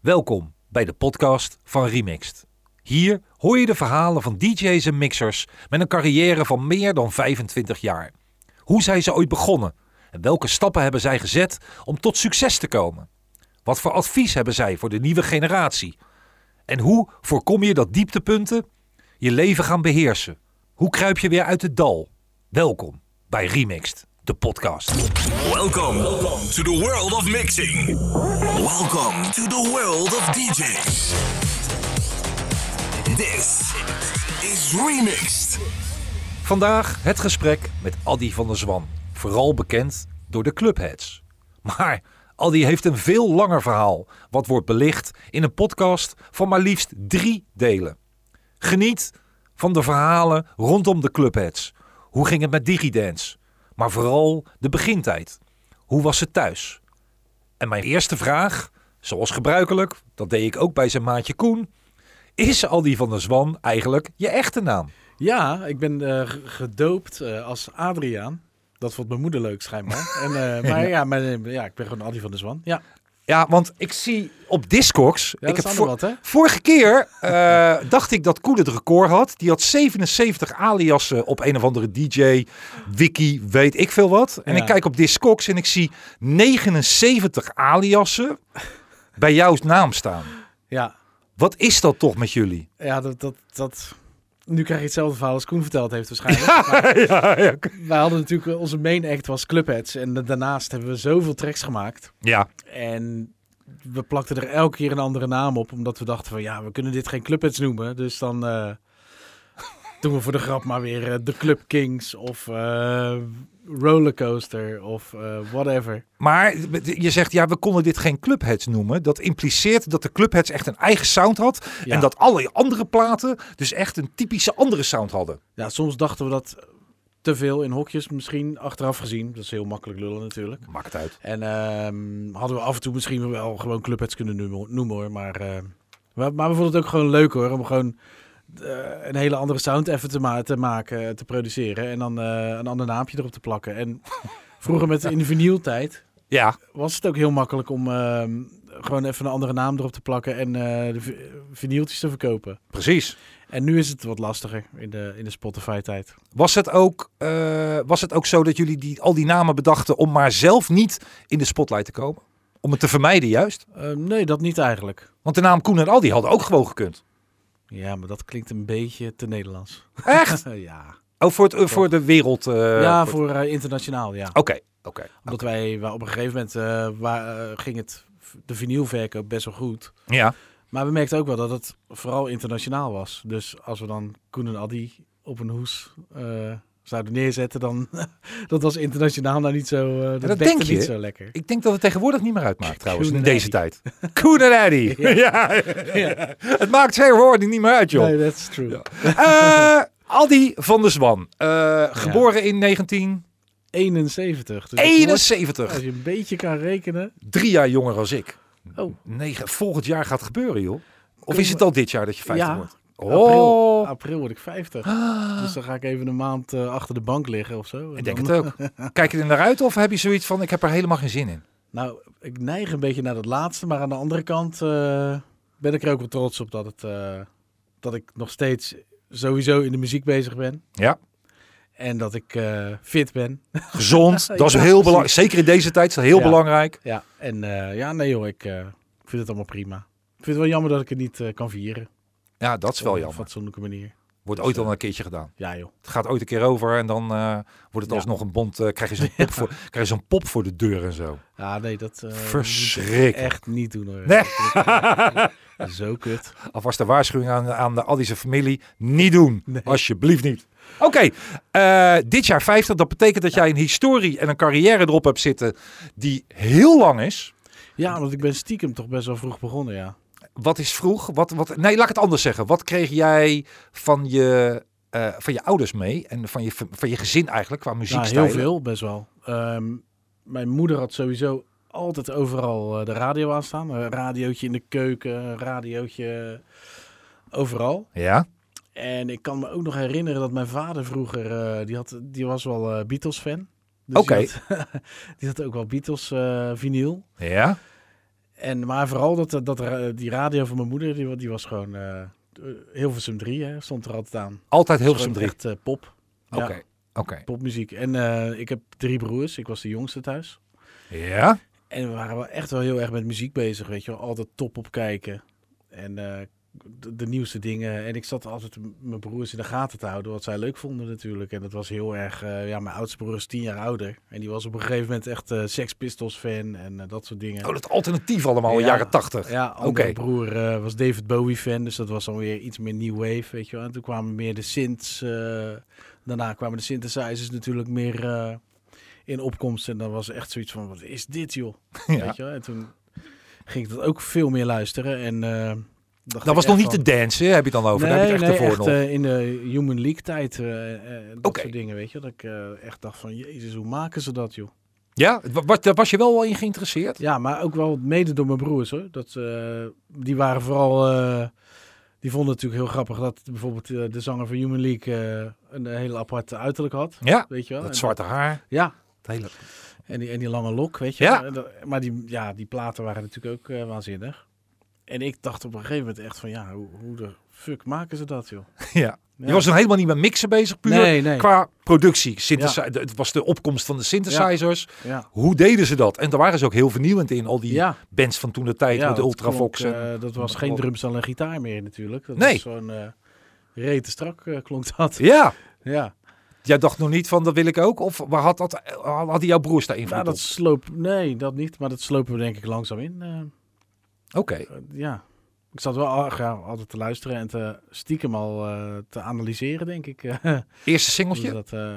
Welkom bij de podcast van Remixed. Hier hoor je de verhalen van DJ's en mixers met een carrière van meer dan 25 jaar. Hoe zijn ze ooit begonnen? En welke stappen hebben zij gezet om tot succes te komen? Wat voor advies hebben zij voor de nieuwe generatie? En hoe voorkom je dat dieptepunten je leven gaan beheersen? Hoe kruip je weer uit het dal? Welkom bij Remixed, de podcast. Welcome to the world of mixing. Welcome to the world of DJs. This is Remixed. Vandaag het gesprek met Addy van der Zwan, vooral bekend door de Clubheads. Maar Addy heeft een veel langer verhaal, wat wordt belicht in een podcast van maar liefst drie delen. Geniet van de verhalen rondom de Clubheads. Hoe ging het met Digidance? Maar vooral de begintijd. Hoe was ze thuis? En mijn eerste vraag, zoals gebruikelijk, dat deed ik ook bij zijn maatje Koen. Is Aldi van der Zwan eigenlijk je echte naam? Ja, ik ben eh, g- gedoopt eh, als Adriaan. Dat vond mijn moeder leuk, schijnbaar. en, eh, maar ja, mijn, ja, ik ben gewoon Adi van de Zwan. Ja, Ja, want ik zie op Discogs. ja ik dat is voor- voor... wat, hè? vorige keer eh, dacht ik dat Koen het record had. Die had 77 aliassen op een of andere DJ, wiki, weet ik veel wat. En Ja. ik kijk op Discogs en ik zie 79 aliassen bij jouw naam staan. Ja, Wat is dat toch met jullie? ja dat, dat, dat... Nu krijg je hetzelfde verhaal als Koen verteld heeft waarschijnlijk. ja, ja. Wij hadden natuurlijk, eh, onze main act was Clubheads. En da- daarnaast hebben we zoveel tracks gemaakt. ja, En we plakten er elke keer een andere naam op. Omdat we dachten van, ja, we kunnen dit geen Clubheads noemen. Dus dan eh, doen we voor de grap maar weer eh, de Club Kings of eh, Rollercoaster of eh, whatever. Maar je zegt, ja, we konden dit geen Clubheads noemen. Dat impliceert dat de Clubheads echt een eigen sound had. Ja. En dat alle andere platen dus echt een typische andere sound hadden. Ja, soms dachten we dat te veel in hokjes misschien achteraf gezien. Dat is heel makkelijk lullen natuurlijk. Maakt het uit. En ehm, hadden we af en toe misschien wel gewoon clubheads kunnen noemen, noemen hoor. Maar, eh, maar, maar we vonden het ook gewoon leuk hoor. Om gewoon eh, een hele andere sound even te, ma- te maken, te produceren. En dan eh, een ander naampje erop te plakken. En vroeger met in de vinyltijd Ja, was het ook heel makkelijk om ehm, gewoon even een andere naam erop te plakken. En eh, de vi- vinyltjes te verkopen. precies. En nu is het wat lastiger in de, in de Spotify tijd. Was het ook, eh, was het ook zo dat jullie die, al die namen bedachten om maar zelf niet in de spotlight te komen? Om het te vermijden juist? Ehm, nee, dat niet eigenlijk. Want de naam Koen en Aldi hadden ook gewoon gekund. Ja, maar dat klinkt een beetje te Nederlands. Echt? ja. Oh, voor, het, eh, voor de wereld. eh, ja, voor- voor eh, internationaal, ja. Oké, oké. Omdat wij, wa- op een gegeven moment eh, wa- eh, ging het, de vinylverkoop best wel goed. Ja. Maar we merkten ook wel dat het vooral internationaal was. Dus als we dan Koen en Addy op een hoes eh, zouden neerzetten, dan dat was internationaal nou niet zo, eh, dat, dat bekte denk je. niet zo lekker. Ik denk dat het tegenwoordig niet meer uitmaakt trouwens, Koen in en deze tijd. Koen en Eddy. Ja. Het maakt tegenwoordig niet meer uit, joh. Nee, that's true. Ja. Eh, Aldi van der Zwan. eh, geboren in 71. Dus dat wordt- 1971. Als je een beetje kan rekenen. Drie jaar jonger als ik. Oh. Negen, volgend jaar gaat het gebeuren, joh. Of Kunnen is het al dit jaar dat je 50 Ja, wordt? April, Oh, april word ik 50. Dus dan ga ik even een maand eh, achter de bank liggen of zo. En ik denk dan- het ook. Kijk je er naar uit of heb je zoiets van, ik heb er helemaal geen zin in? Nou, ik neig een beetje naar dat laatste, maar aan de andere kant eh, ben ik er ook wel trots op dat, het, eh, dat ik nog steeds sowieso in de muziek bezig ben. Ja, En dat ik eh, fit ben. gezond. dat is Ja, heel precies. belangrijk. Zeker in deze tijd is dat heel Ja. belangrijk. Ja, en eh, ja, nee joh, ik eh, vind het allemaal prima. Ik vind het wel jammer dat ik het niet eh, kan vieren. Ja, dat is wel Op een jammer. fatsoenlijke manier. Wordt ooit al een keertje gedaan. Ja joh. Het gaat ooit een keer over en dan eh, wordt het Ja. alsnog een bond. eh, krijg je zo'n pop, voor- krijg je zo'n pop voor de deur en zo. Ja, nee, dat eh, moet ik Verschrikkelijk. echt niet doen hoor. Nee. Zo kut. Alvast de waarschuwing aan, aan de Addische familie. Niet doen. Nee. Alsjeblieft niet. Oké, eh, dit jaar 50. Dat betekent dat jij een historie en een carrière erop hebt zitten die heel lang is. Ja, want ik ben stiekem toch best wel vroeg begonnen, ja. Wat is vroeg? Wat, wat, nee, laat ik het anders zeggen. Wat kreeg jij van je, eh, van je ouders mee en van je, van je gezin eigenlijk qua Nou, muziekstijlen? heel veel, best wel. Ehm, mijn moeder had sowieso altijd overal eh, de radio aan staan. Een radiootje in de keuken, een radiootje eh, overal. Ja, En ik kan me ook nog herinneren dat mijn vader vroeger, eh, die, had, die was wel eh, Beatles-fan. Dus Oké. Die, had- die had ook wel Beatles eh vinyl. ja. En, maar vooral dat, dat, ra- die radio van mijn moeder, die, wa- die was gewoon eh, heel Hilversum 3, hè, stond er altijd aan. Altijd heel Dus gewoon drie. Echt eh, pop. Oké, Ja, oké. popmuziek. En eh, ik heb drie broers, ik was de jongste thuis. Ja? En we waren wel echt wel heel erg met muziek bezig, weet je wel. Altijd top op kijken. En eh, de, de nieuwste dingen. En ik zat altijd m- mijn broers in de gaten te houden, wat zij leuk vonden natuurlijk. En dat was heel erg... eh, ja, mijn oudste broer is tien jaar ouder. En die was op een gegeven moment echt eh Sex Pistols fan en eh, dat soort dingen. Oh, dat alternatief allemaal, Ja. jaren tachtig. Ja, andere Oké. broer eh, was David Bowie fan, dus dat was dan weer iets meer new wave, weet je wel. En toen kwamen meer de synths, eh, daarna kwamen de synthesizers natuurlijk meer eh, in opkomst. En dan was echt zoiets van, wat is dit joh? Ja. Weet je wel? En toen ging ik dat ook veel meer luisteren. En, eh, dacht Dat ik was nog echt niet te dansen, heb je het dan over. van, Daar heb je Nee, het echt nee, ervoor echt nog. eh, in de Human League tijd, eh, eh, dat Oké. soort dingen, weet je. Dat ik eh, echt dacht van, jezus, hoe maken ze dat joh? Ja, Wa- wa- daar was je wel in geïnteresseerd? Ja, maar ook wel mede door mijn broers hoor. Dat, eh, die waren vooral. eh, die vonden het natuurlijk heel grappig dat bijvoorbeeld eh, de zanger van Human League eh, een hele aparte uiterlijk had. Ja, Weet je wel? dat Oh, En- zwarte haar. Ja, Het hele... en die, en die lange lok, weet je Ja. wel. En dat- Maar die, ja, die platen waren natuurlijk ook eh, waanzinnig. En ik dacht op een gegeven moment echt van ja, hoe, hoe de fuck maken ze dat joh? Ja. Ja. Je was nog helemaal niet met mixen bezig, puur Nee, nee. qua productie. Synthesi- Het was de opkomst van de synthesizers. Ja. Hoe deden ze dat? En daar waren ze ook heel vernieuwend in, al die Ja, bands van toen de tijd ja, met de dat Ultravox. klonk, en- eh, dat was geen drumstel en gitaar meer natuurlijk. Dat Nee. was zo'n eh rete strak eh, klonk dat. Ja, ja. jij dacht nog niet van dat wil ik ook? Of waar had, dat, eh, had die jouw broers daar invloed Nou, dat sloop. Nee, dat niet. Maar dat slopen we denk ik langzaam in. eh, op? Oké, eh, ja. Ik zat wel al- ja, altijd te luisteren en te stiekem al eh, te analyseren, denk ik. eh, eerste hoe singeltje? dat eh,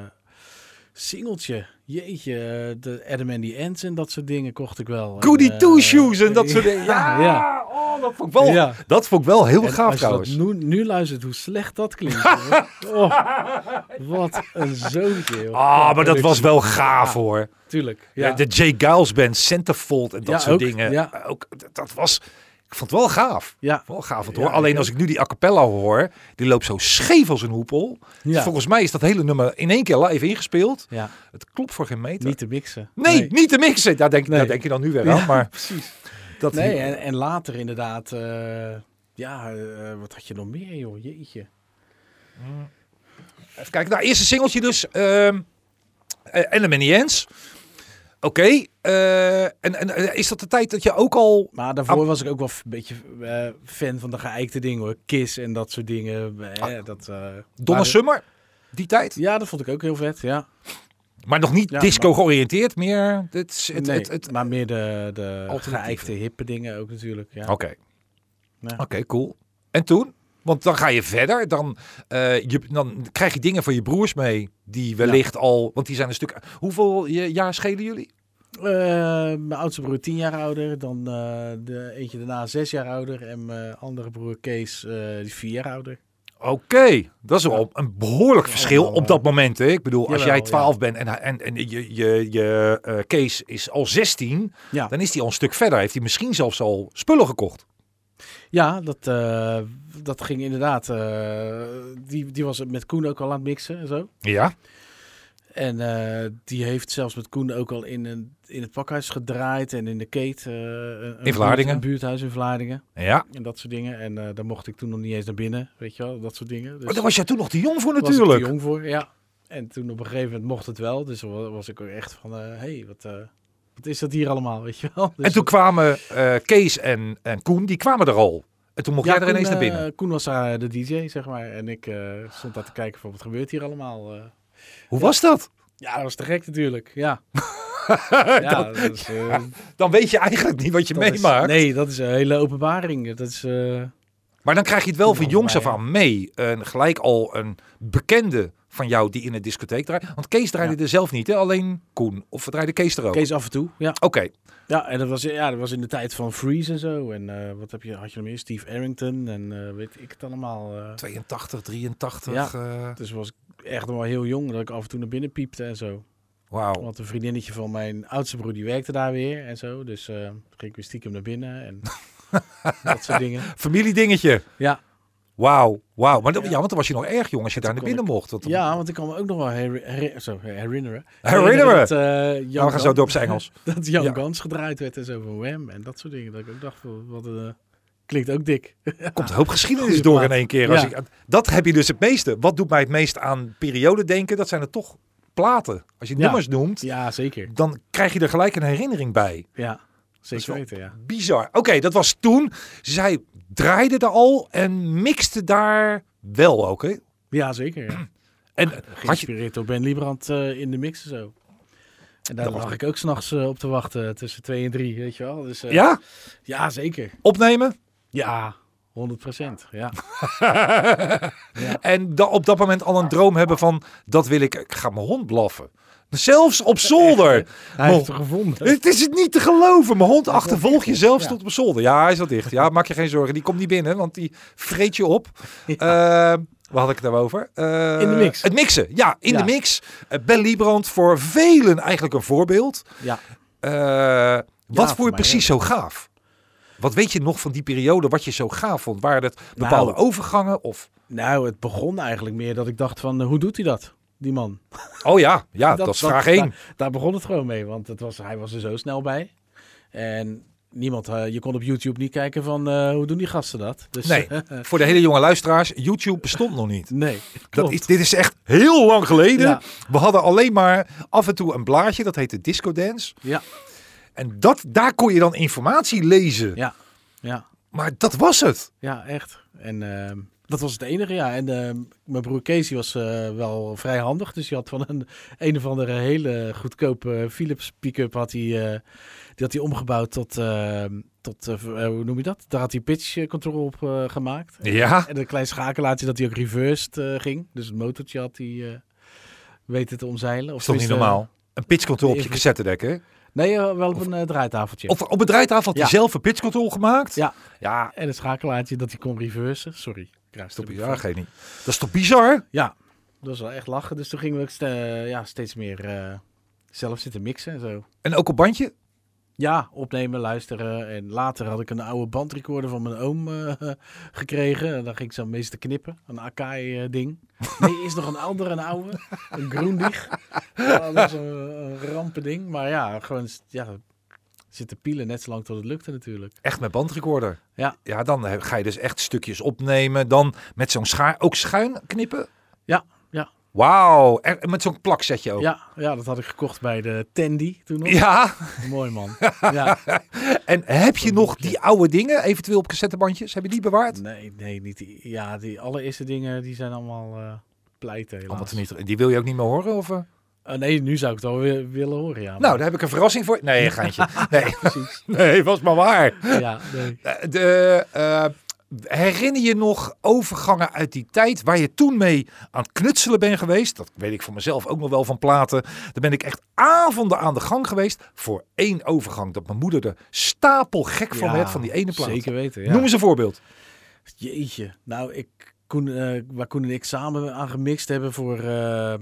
singeltje. Jeetje, eh, de Adam and the Ants en dat soort dingen kocht ik wel. En, Goody eh, Two Shoes en dat soort dingen. ja, Ja, ja. Oh, dat, vond ik wel, Ja. dat vond ik wel heel En gaaf als je dat trouwens. nu, nu luistert, hoe slecht dat klinkt. hoor. oh, wat een zoontje. joh. Ah, maar dat was wel gaaf Ja. hoor. Tuurlijk. Ja. Eh, De Jay Giles Band, Centerfold en dat Ja, soort ook, dingen. Eh, ja. Ook, dat- dat was, ik vond het wel gaaf. ja. Wel gaaf het Ja, hoor. ik Alleen als ook. ik nu die a cappella hoor, die loopt zo scheef als een hoepel. Dus Ja. Volgens mij is dat hele nummer in één keer live ingespeeld. ja. Het klopt voor geen meter. Niet te mixen. nee, niet te mixen. Daar denk, Nee. daar denk je dan nu weer aan. Maar eh, precies. dat Nee, en, en later inderdaad. eh, ja, eh, wat had je nog meer, joh? Jeetje. Even kijken. Nou, eerste singeltje dus. ehm eh, en de Manny Jens. Oké. eh, en en eh, is dat de tijd dat je ook al... Maar daarvoor was ik ook wel f- een beetje eh, fan van de geëikte dingen, hoor. Kiss en dat soort dingen. eh, Ah, dat, eh, Donna maar- Summer? Die tijd? Ja, dat vond ik ook heel vet, ja. Maar nog niet Ja, disco maar- georiënteerd meer. Het, het, nee, het, het, maar meer de, de Alternatieve. geëikte hippe dingen ook natuurlijk, ja. Oké. Ja. Oké, cool. En toen? Want dan ga je verder. Dan, eh, je, dan krijg je dingen van je broers mee. Die wellicht al... Want die zijn een stuk... Hoeveel je- jaar schelen jullie? Eh, mijn oudste broer tien jaar ouder, dan eh, de eentje daarna zes jaar ouder. En mijn andere broer Kees, eh, die vier jaar ouder. Oké, dat is wel een behoorlijk verschil wel, op dat moment. Hè? Ik bedoel, als Jawel, jij 12 bent en, hij- en, en je, je, je eh, Kees is al 16, Ja. dan is hij al een stuk verder. Heeft hij misschien zelfs al spullen gekocht. Ja, dat, eh, dat ging inderdaad. eh, die, die was met Koen ook al aan het mixen en zo. Ja, En eh, die heeft zelfs met Koen ook al in, een, in het pakhuis gedraaid en in de keet. eh, een- In Vlaardingen? een buurthuis in Vlaardingen ja. en dat soort dingen. En eh, daar mocht ik toen nog niet eens naar binnen, weet je wel, dat soort dingen. Dus Maar Oh, daar was jij toen nog te jong voor was ik te natuurlijk. jong voor, ja. En toen op een gegeven moment mocht het wel. Dus wa- was ik ook echt van, hé, hey, wat, eh, wat is dat hier allemaal, weet je wel. Dus, En toen kwamen eh, Kees en, en Koen, die kwamen er al. En toen mocht jij er Koen, ineens naar binnen. eh, Koen was daar de DJ, zeg maar. En ik eh, stond daar te kijken van, wat gebeurt hier allemaal? eh. Hoe was dat? Ja, dat was te gek natuurlijk. Ja. ja, dat, is, eh, Dan weet je eigenlijk niet wat je dat is- meemaakt. nee, dat is een hele openbaring. Dat is, eh, Maar dan krijg je het wel van Nou, jongs af maar ja. aan mee. En gelijk al een bekende van jou die in de discotheek draait. Want Kees draaide er zelf niet, hè? alleen Koen. Of draaide Kees er ook? Kees af en toe. Ja, Oké, ja en dat was, ja, dat was in de tijd van Freeze en zo. En eh, wat heb je, had je nog meer? Steve Arrington en eh, weet ik het allemaal. eh. 82, 83. Ja. eh, dus was ik echt nog wel heel jong dat ik af en toe naar binnen piepte en zo. Wauw. Want een vriendinnetje van mijn oudste broer die werkte daar weer en zo. Dus eh, ging ik weer stiekem naar binnen en dat soort dingen. Familiedingetje. Ja, Wauw, wauw. Maar dat, ja. Ja. want dan was je nog erg jong als je daar naar toen binnen kon mocht. Want dan- Ja, want ik kan me ook nog wel her- her- zo, herinneren. Herinneren. Dat, eh, Jan Ja, we gaan zo Gans- door op zijn Engels. Dat Jan Ja. Gans gedraaid werd en zo van Wham en dat soort dingen. Dat ik ook dacht, van, wat eh, klinkt ook dik. Er komt een hoop geschiedenis Goeie door in plaat. één keer. Als Ja. ik, dat heb je dus het meeste. Wat doet mij het meest aan periode denken? Dat zijn er toch platen. Als je Ja. nummers noemt, Ja, zeker. dan krijg je er gelijk een herinnering bij. Ja, is zeker wel- weten, ja. Bizar. Oké, dat was toen. Zij draaide er al en mixte daar wel ook. Hè? Ja, zeker. Ja. En had je, Geïnspireerd door Ben Liebrand eh, in de mix en zo. En daar Dat was- lag ik ook s'nachts nachts eh, op te wachten tussen twee en drie, weet je wel. Dus, eh, ja, ja, zeker. opnemen. Ja, 100 procent. Ja. En da- op dat moment al een droom hebben van, dat wil ik, ik ga mijn hond blaffen. Zelfs op zolder. Hij Mo- heeft het gevonden. Het is het niet te geloven. Mijn hond achtervolg je zelfs Ja. tot op zolder. Ja, hij is al dicht. Ja, maak je geen zorgen. Die komt niet binnen, want die vreet je op. Eh waar had ik het nou over? Eh, In de mix. Het mixen, ja. In Ja. de mix. Eh, ben Liebrand voor velen eigenlijk een voorbeeld. Ja. Eh, voor wat vond je mij precies zo gaaf? Wat weet je nog van die periode wat je zo gaaf vond? Waren het bepaalde overgangen? Of... Nou, het begon eigenlijk meer dat ik dacht van, eh, hoe doet hij dat, die man? Oh ja, ja dat, is vraag 1. Daar, daar begon het gewoon mee, want het was, hij was er zo snel bij. En niemand, eh, je kon op YouTube niet kijken van, eh, hoe doen die gasten dat? Dus, Nee, voor de hele jonge luisteraars, YouTube bestond nog niet. nee, Dat klopt. is, dit is echt heel lang geleden. Ja. We hadden alleen maar af en toe een blaadje, dat heette Disco Dance. Ja, En dat, daar kon je dan informatie lezen. ja, ja. Maar dat was het. Ja, echt. En ehm, dat was het enige, ja. En ehm, mijn broer Casey was eh, wel vrij handig. Dus die had van een, een of andere hele goedkope Philips pick-up... Had hij, eh, die had hij omgebouwd tot, ehm, tot eh, v- eh, hoe noem je dat? Daar had hij pitch eh, control op eh, gemaakt. Ja. En een klein schakelaartje dat hij ook reversed eh, ging. Dus het motortje had hij eh, weten te omzeilen. Of Dat is toch niet tenminste, eh, normaal? Een pitchcontrol op je even- cassettedek, hè? Nee, eh, wel op een eh, draaitafeltje. Of op het draaitafel had hij Ja. zelf een pitchcontrol gemaakt? Ja. Ja, En een schakelaartje dat hij kon reversen. Sorry. ik dat raak de is toch microfoon. bizar, Genie? Dat is toch bizar? Ja, dat was wel echt lachen. Dus toen gingen we ook ste- ja, steeds meer eh, zelf zitten mixen en zo. En ook op bandje? Ja, opnemen, luisteren. En later had ik een oude bandrecorder van mijn oom eh, gekregen. En daar ging ik zo meestal knippen. Een Akai-ding. nee, is nog een ander, een oude. Een Groendig. dat was een, een rampending. Maar ja, gewoon s- ja, zitten pielen net zo lang tot het lukte natuurlijk. Echt met bandrecorder. Ja. Ja, dan he- ga je dus echt stukjes opnemen. Dan met zo'n schaar, ook schuin knippen? Ja, ja. Wauw. En en met zo'n plaksetje ook. Ja, ja, dat had ik gekocht bij de Tandy toen nog. Oh. Ja, Mooi man. Ja. en heb je nog die oude dingen, eventueel op cassettebandjes? Heb je die bewaard? Nee, nee, niet die. Ja, die allereerste dingen die zijn allemaal eh pleiten helaas. Oh, wat niet, die wil je ook niet meer horen? Of, eh? Eh, nee, nu zou ik het wel weer willen horen, ja. Nou, daar heb ik een verrassing voor. Nee, geintje. Nee, precies. nee was maar waar. ja, nee. Eh, De, eh, herinner je nog overgangen uit die tijd waar je toen mee aan het knutselen bent geweest? Dat weet ik voor mezelf ook nog wel van platen. Daar ben ik echt avonden aan de gang geweest voor één overgang. Dat mijn moeder er stapel gek van Ja, werd van die ene plaat. Zeker weten, ja. Noem eens een voorbeeld. Jeetje. Nou, ik, Koen, eh, waar Koen en ik samen aan gemixt hebben voor... eh,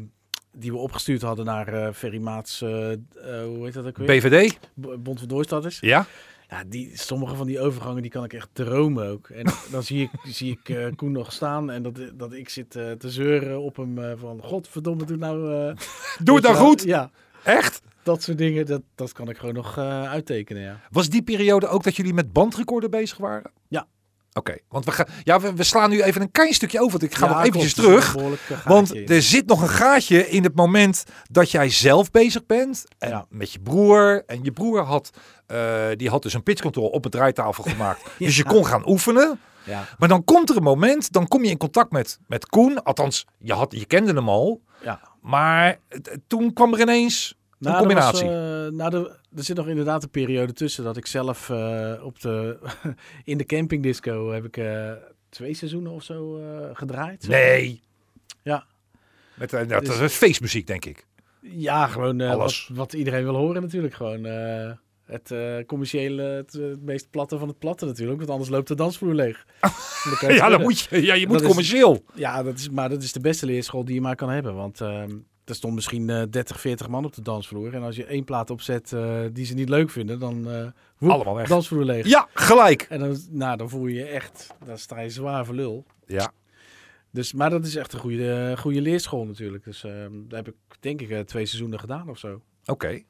die we opgestuurd hadden naar eh Ferry Maats, eh, eh, hoe heet dat ook weer? BVD? B- Bond van Doorstadders. Ja. Ja, die, sommige van die overgangen die kan ik echt dromen ook. En dan zie ik, zie ik eh, Koen nog staan en dat, dat ik zit eh, te zeuren op hem eh, van... Godverdomme, doe nou... Doe eh, weet het dan je wel? goed. Ja, Echt? dat soort dingen, dat, dat kan ik gewoon nog eh, uittekenen, ja. Was die periode ook dat jullie met bandrecorder bezig waren? Ja. Oké, want we, gaan, ja, we, we slaan nu even een klein stukje over. want Ik ga Ja, nog klopt, eventjes er zit een terug. behoorlijk, eh, gaatje Want in. er zit nog een gaatje in het moment dat jij zelf bezig bent. En Ja. met je broer. En je broer had, eh, die had dus een pitchcontrol op een draaitafel gemaakt. Dus je kon gaan oefenen. Ja, Maar dan komt er een moment, dan kom je in contact met, met Koen. Althans, je, had, je kende hem al. ja. Maar eh, toen kwam er ineens een Nou, er was, combinatie. eh, nou, er, er zit nog inderdaad een periode tussen dat ik zelf eh, op de, in de campingdisco heb ik eh, twee seizoenen of zo eh, gedraaid. nee. Ja. Met, eh, nou, dat Dus- is feestmuziek, denk ik. Ja, gewoon eh, Alles. Wat, wat iedereen wil horen natuurlijk. Gewoon eh, het eh, commerciële, het, eh, het meest platte van het platte natuurlijk. Want anders loopt de dansvloer leeg. En kan je het Ja, dan winnen. moet je, ja, je moet Dat is- commercieel. Ja, dat is, maar dat is de beste leerschool die je maar kan hebben. Want ehm, Er stond misschien eh 30, 40 man op de dansvloer. En als je één plaat opzet eh, die ze niet leuk vinden, dan eh woep, Allemaal weg. dansvloer leeg. Ja, gelijk. En dan, nou, dan voel je je echt, dan sta je zwaar voor lul. Ja, Dus, maar dat is echt een goede, goede leerschool natuurlijk. Dus eh, daar heb ik denk ik eh, twee seizoenen gedaan of zo. oké.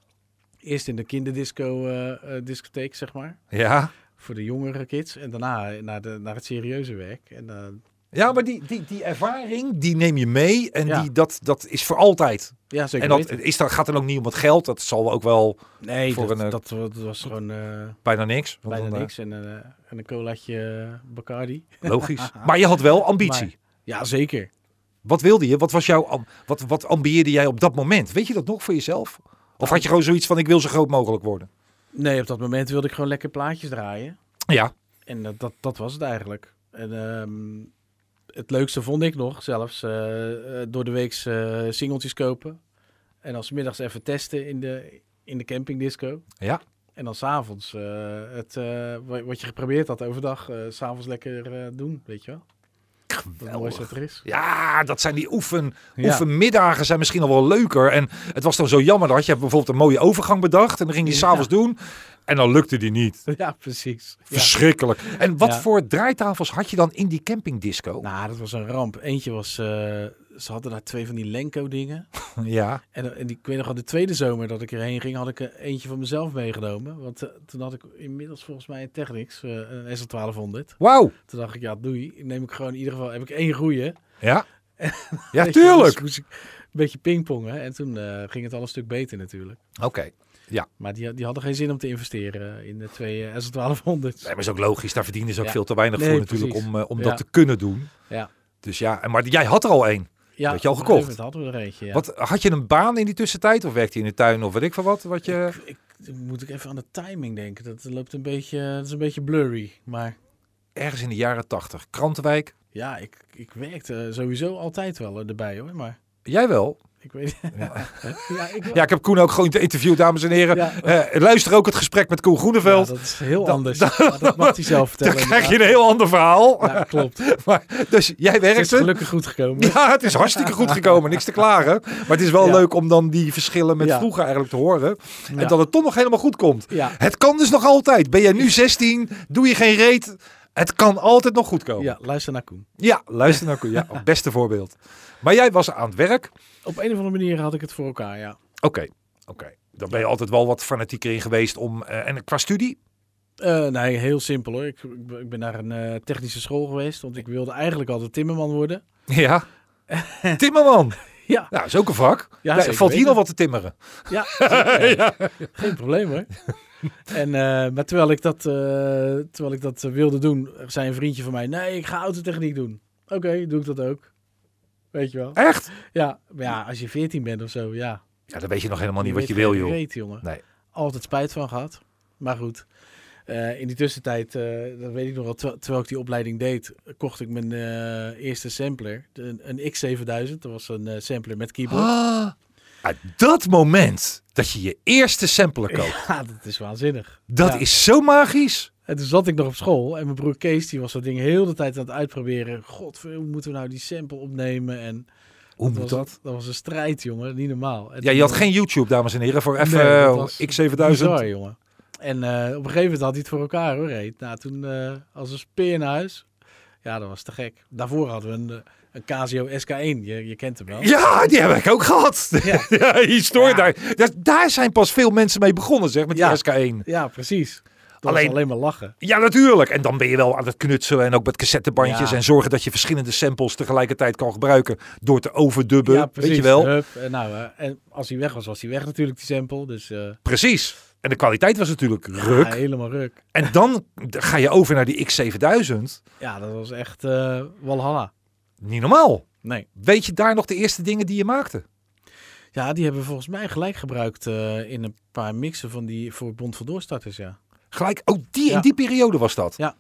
Eerst in de kinderdisco eh, eh, discotheek, zeg maar. Ja. Voor de jongere kids. En daarna naar, de, naar het serieuze werk. En eh, ja, maar die, die, die ervaring, die neem je mee. En Ja. die, dat, dat is voor altijd. ja, zeker En dat weten. is, dan- gaat dan ook niet om het geld. Dat zal ook wel Nee, voor dat, een, eh, dat, wa- dat was gewoon eh, bijna niks. Want bijna dan, eh, niks. En, eh, en een colaatje eh, Bacardi. Logisch. Maar je had wel ambitie. Maar- ja, zeker. Wat wilde je? Wat, was jouw, am- wat, wat ambieerde jij op dat moment? Weet je dat nog voor jezelf? Of had je gewoon zoiets van ik wil zo groot mogelijk worden? Nee, op dat moment wilde ik gewoon lekker plaatjes draaien. Ja. En dat, dat, dat was het eigenlijk. En, ehm, het leukste vond ik nog zelfs eh, eh, door de week eh, singeltjes kopen. En dan 's middags even testen in de, in de campingdisco. Ja. En dan s'avonds eh het, eh, wa- wat je geprobeerd had overdag, eh, s s'avonds lekker eh, doen, weet je wel. Dat het mooiste Geweldig. dat er is. Ja, dat zijn die oefen, Ja. oefenmiddagen zijn misschien al wel leuker. En het was dan zo jammer dat je hebt bijvoorbeeld een mooie overgang bedacht. En dan ging je s'avonds doen. En dan lukte die niet. Ja, precies. Ja. Verschrikkelijk. En wat Ja. voor draaitafels had je dan in die campingdisco? Nou, dat was een ramp. Eentje was, eh, ze hadden daar twee van die Lenko dingen. Ja. En, eh, en die, ik weet nog, al de tweede zomer dat ik erheen ging, had ik eh, eentje van mezelf meegenomen. Want eh, toen had ik inmiddels volgens mij een Technics, eh, een SL1200. Wauw. Toen dacht ik, ja, doei. Neem ik gewoon in ieder geval, heb ik één goeie. Ja. Ja, Weet je wel, tuurlijk. dus moest ik een beetje pingpongen. En toen eh, ging het al een stuk beter natuurlijk. dus- Oké. Maar die, die hadden geen zin om te investeren eh, in de twee eh, SL1200's. Nee, maar is ook logisch. Daar verdienen ze ook Ja. veel te weinig Nee, voor natuurlijk precies. om, eh, om Ja. dat te kunnen doen. Ja. Dus ja, en- maar jij had er al één. ja, had je al op een gegeven gekocht? moment hadden we er eentje, ja. Wat, had je een baan in die tussentijd? Of werkte je in de tuin of weet ik van wat? wat je... Ik, ik- moet ik even aan de timing denken. Dat loopt een beetje, dat is een beetje blurry. Maar Ergens in de jaren tachtig. Krantenwijk. ja, ik, ik werkte eh, sowieso altijd wel eh, erbij hoor. Maar Jij wel. Ik weet Ja, ik wel. Ja, ik heb Koen ook gewoon interviewd, dames en heren. Ja. Eh, luister ook het gesprek met Koen Ja, Groeneveld. dat is heel Dat- anders. Maar dat mag hij zelf Dan vertellen. krijg je inderdaad. een heel ander verhaal. Ja, klopt. Het Maar, dus jij is werkte. gelukkig goed gekomen. Ja, het is hartstikke goed gekomen. Niks te klagen. Maar het is wel Ja. leuk om dan die verschillen met Ja. vroeger eigenlijk te horen. En Ja. dat het toch nog helemaal goed komt. Ja, Het kan dus nog altijd. Ben jij nu 16? Doe je geen reet? Het kan altijd nog goed komen. ja, luister naar Koen. Ja, luister naar Koen. Ja, het beste voorbeeld. Maar jij was aan het werk. Op een of andere manier had ik het voor elkaar, ja. Oké, oké. Dan ben je altijd wel wat fanatieker in geweest om... eh, en qua studie? Eh, nee, heel simpel hoor. Ik, ik ben- ik ben naar een eh, technische school geweest, want ik wilde eigenlijk altijd timmerman worden. Ja. Timmerman. Ja, Nou, is ook een vak. Ja, Daar zeker valt hier weten. nog wat te timmeren. ja, zeker, ja. geen probleem hoor. En, eh, maar terwijl ik, dat, eh, terwijl ik dat eh, wilde doen, zei een vriendje van mij, nee, ik ga autotechniek doen. Oké, doe ik dat ook. Weet je wel. Echt? Ja, maar ja, als je 14 bent of zo, ja. Ja, dan weet je nog helemaal niet Je wat je weet wil, geen joh. reet, jongen. Nee. Altijd spijt van gehad. Maar goed. Eh, in die tussentijd, eh, dat weet ik nog wel, ter- terwijl ik die opleiding deed, kocht ik mijn eh, eerste sampler. De- een, een X7000, dat was een eh, sampler met keyboard. Ah, uit dat moment dat je je eerste sampler koopt. Ja, dat is waanzinnig. Dat Ja. is zo magisch. En toen zat ik nog op school en mijn broer Kees die was dat ding heel de tijd aan het uitproberen. God, hoe moeten we nou die sample opnemen? En Hoe moet was, dat? Dat was een strijd, jongen. Niet normaal. En Ja, je toen- had geen YouTube, dames en heren, voor even Nee, dat eh, was X7000. Bizar, jongen. En eh, op een gegeven moment had hij het voor elkaar hoor. Reed. Nou, toen eh, als een speer naar huis. Ja, dat was te gek. Daarvoor hadden we een, eh, een Casio SK1. Je, je kent hem wel. Ja, die heb ik ook gehad. Ja, Ja. historie Ja. Daar, daar. Daar zijn pas veel mensen mee begonnen, zeg, met die Ja. SK1. Ja, precies. Dat alleen... Alleen- was alleen maar lachen. Ja, natuurlijk. En dan ben je wel aan het knutselen en ook met cassettebandjes. Ja. En zorgen dat je verschillende samples tegelijkertijd kan gebruiken door te overdubben. ja, precies. Weet je wel? Hup. En, nou, eh, en als hij weg was, was hij weg natuurlijk, die sample. Dus eh, Precies. En de kwaliteit was natuurlijk ja, ruk. helemaal ruk. En dan ga je over naar die X7000. Ja, dat was echt eh walhalla. Niet normaal. Nee. Weet je daar nog de eerste dingen die je maakte? Ja, die hebben we volgens mij gelijk gebruikt eh, in een paar mixen van die voor Bond van Doorstarters, ja. Gelijk, oh, die, in Ja. die periode was dat. Ja.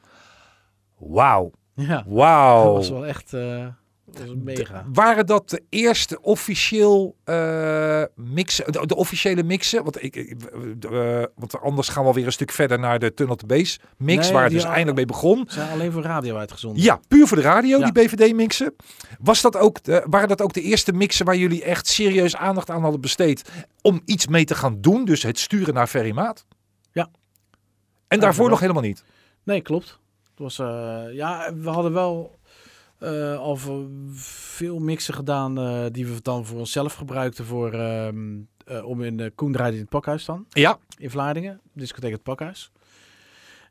Wauw, Ja, wauw. dat was wel echt... eh, Dat is mega. Waren dat de eerste officieel eh, mixen, de, de officiële mixen? Want, ik, ik- eh, want anders gaan we alweer een stuk verder naar de Tunnel to Base mix, Nee, waar het die dus al- eindelijk mee begon. Ze zijn alleen voor radio uitgezonden. Ja, puur voor de radio, Ja. die BVD mixen. Was dat ook, de- waren dat ook de eerste mixen waar jullie echt serieus aandacht aan hadden besteed om iets mee te gaan doen? Dus het sturen naar Ferrymaat? Ja. En daarvoor wel. nog helemaal niet? Nee, klopt. Het was, eh, ja, we hadden wel eh, al v- veel mixen gedaan eh, die we dan voor onszelf gebruikten voor, ehm, eh, om in de Koen draaide in het pakhuis dan. Ja, in Vlaardingen, discotheek Het Pakhuis.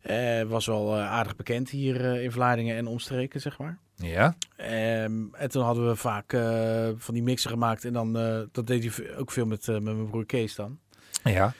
Eh, was wel eh, aardig bekend hier eh, in Vlaardingen en omstreken, zeg maar. ja. Ehm, en toen hadden we vaak eh, van die mixen gemaakt. En dan, eh, dat deed hij v- ook veel met, eh, met mijn broer Kees dan. ja.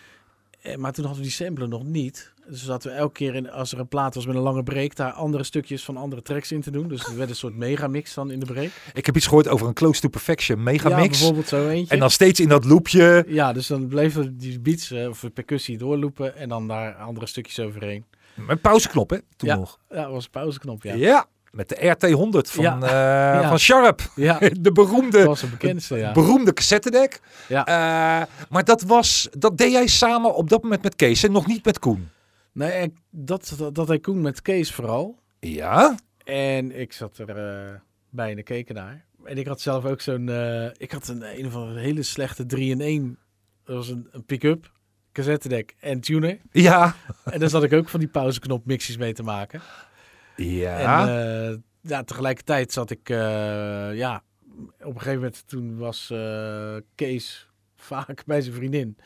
Eh, maar toen hadden we die sampler nog niet. Dus zaten we elke keer, in, als er een plaat was met een lange break, daar andere stukjes van andere tracks in te doen. Dus het werd een soort megamix dan in de break. Ik heb iets gehoord over een Close to Perfection ja, megamix. bijvoorbeeld zo eentje. en dan steeds in dat loopje. Ja, dus dan bleven die beats eh, of de percussie doorlopen en dan daar andere stukjes overheen. Met pauzeknop, hè? Toen nog. Ja, dat was een pauzeknop, Ja. ja. Met de RT100 van, Ja. eh, van Sharp. Ja, De beroemde, dat was een bekendste, ja. beroemde cassettedek. Ja. Eh, maar dat, was, dat deed jij samen op dat moment met Kees en nog niet met Koen. Nee, en dat, dat, dat hij Koen met Kees vooral. Ja? En ik zat er eh, bijna keken naar. En ik had zelf ook zo'n... eh, ik had een, een of andere hele slechte 3-in-1. Dat was een, een pick-up, cassettedek en tuner. Ja. En daar zat ik ook van die pauzeknop mixies mee te maken. Ja. En eh, ja, tegelijkertijd zat ik... eh, ja, op een gegeven moment toen was eh, Kees vaak bij zijn vriendin.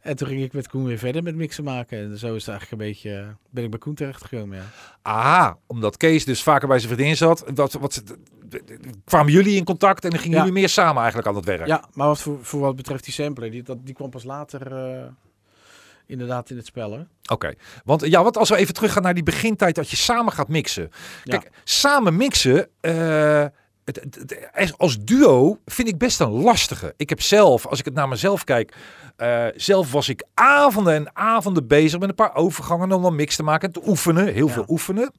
En toen ging ik met Koen weer verder met mixen maken. En zo is het eigenlijk een beetje... eh, ben ik bij Koen terechtgekomen, ja. Aha, omdat Kees dus vaker bij zijn vriendin zat. Wat, wat, kwamen jullie in contact en dan gingen Ja. jullie meer samen eigenlijk aan het werk. Ja, maar wat voor, voor wat betreft die sampler, die, dat, die kwam pas later eh, inderdaad in het spel. Hè? Oké, want eh, ja, want als we even teruggaan naar die begintijd dat je samen gaat mixen. Ja. Kijk, samen mixen eh, het, het- het- als- als duo vind ik best een lastige. Ik heb zelf, als ik het naar mezelf kijk, eh, zelf was ik avonden en avonden bezig met een paar overgangen om dan mix te maken en te oefenen, heel Ja. veel oefenen.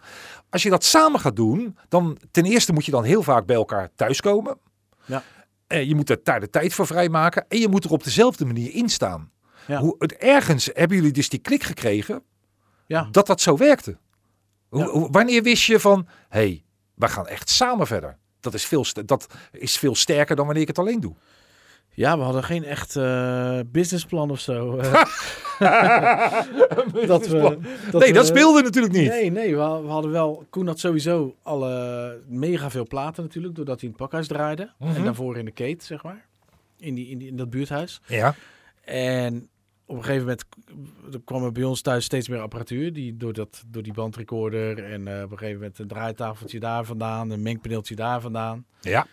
Als je dat samen gaat doen, dan ten eerste moet je dan heel vaak bij elkaar thuiskomen. Ja. Eh, je moet er daar de tijd voor vrijmaken en je moet er op dezelfde manier in staan. Ja. Hoe, het, ergens hebben jullie dus die klik gekregen Ja. dat dat zo werkte. Hoe, Ja. hoe- wanneer wist je van, hé, hey, wij gaan echt samen verder? Dat is, veel, st- dat is veel sterker dan wanneer ik het alleen doe. Ja, we hadden geen echt eh, businessplan of zo. eh, dat eh, we, nee, dat we- speelde natuurlijk niet. Nee, nee, we, we hadden wel. Koen had sowieso alle mega veel platen natuurlijk, doordat hij in het pakhuis draaide. Mhm. En daarvoor in de keet, zeg maar. In, die, in, die, in dat buurthuis. Ja, En op een gegeven moment k- er kwam er bij ons thuis steeds meer apparatuur. Die, door, dat, door die bandrecorder en eh, op een gegeven moment een draaitafeltje daar vandaan, een mengpaneeltje daar vandaan. ja,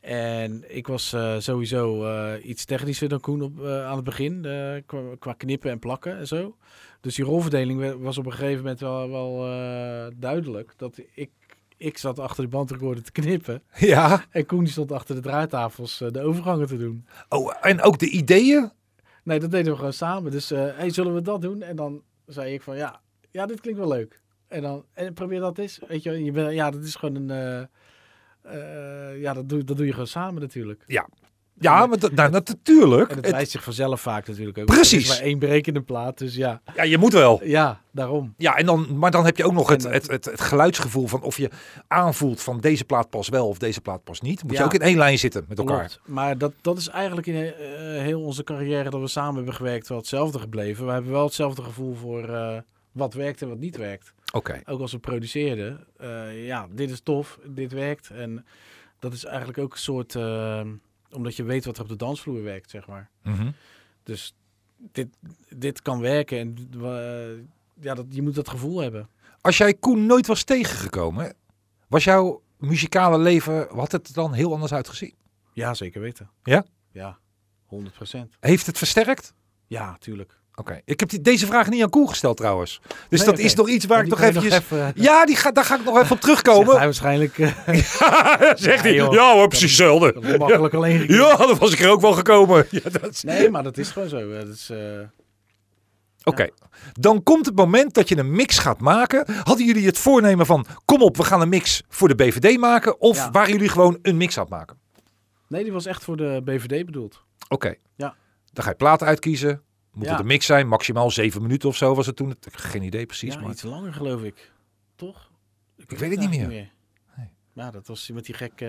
En ik was eh, sowieso eh, iets technischer dan Koen op, eh, aan het begin, eh, qua, qua knippen en plakken en zo. Dus die rolverdeling we- was op een gegeven moment wel, wel eh, duidelijk. Dat ik, ik zat achter de bandrecorder te knippen ja. en Koen die stond achter de draaitafels eh, de overgangen te doen. Oh, en ook de ideeën. Nee, dat deden we gewoon samen. Dus, eh hey, zullen we dat doen? En dan zei ik van, ja, ja dit klinkt wel leuk. En dan, en probeer dat eens. Weet je, wel, je bent, ja, dat is gewoon een, eh, eh, ja, dat doe, dat doe je gewoon samen natuurlijk. Ja, maar dat, nou, dat- natuurlijk. En het Het- wijst zich vanzelf vaak natuurlijk ook. Precies. Er is maar één berekende plaat, dus ja. ja, je moet wel. Ja, daarom. Ja, en dan, maar dan heb je ook nog het, En eh, het, dat- het, het geluidsgevoel van of je aanvoelt van deze plaat pas wel of deze plaat pas niet. Moet je Ja. ook in één lijn zitten met elkaar. Klopt. Maar dat, dat is eigenlijk in eh, heel onze carrière dat we samen hebben gewerkt wel hetzelfde gebleven. We hebben wel hetzelfde gevoel voor eh, wat werkt en wat niet werkt. Oké. ook als we produceerden, eh, ja, dit is tof, dit werkt. En dat is eigenlijk ook een soort, eh, omdat je weet wat er op de dansvloer werkt, zeg maar. Mhm. Dus dit, dit kan werken en eh, ja, dat, je moet dat gevoel hebben. Als jij Koen nooit was tegengekomen, was jouw muzikale leven, had het er dan heel anders uitgezien? Ja, zeker weten. Ja? Ja, 100 procent. Heeft het versterkt? Ja, tuurlijk. Oké. Ik heb die, deze vraag niet aan Koen gesteld trouwens. Dus Nee, dat oké. is nog iets waar Ja, ik die nog kan je nog eventjes... even- eh, Ja, die ga, daar ga ik nog even op terugkomen. Zegt hij waarschijnlijk eh, Zegt hij. Ja, joh. Ja hoor, precies dat hetzelfde. is makkelijk alleen gekregen. Ja, dan was ik er ook wel gekomen. Ja, dat is- Nee, maar dat is gewoon zo. eh, Dat is, eh, Oké, Oké, dan komt het moment dat je een mix gaat maken. Hadden jullie het voornemen van, kom op, we gaan een mix voor de BVD maken? Of Ja. waren jullie gewoon een mix aan het maken? Nee, die was echt voor de BVD bedoeld. Oké, Ja. dan ga je plaat uitkiezen. Moet Ja. het een mix zijn, maximaal zeven minuten of zo was het toen. Ik heb Geen idee precies, ja, maar iets langer geloof ik. Toch? ik weet het niet meer. Nee. Ja, dat was met die gek eh,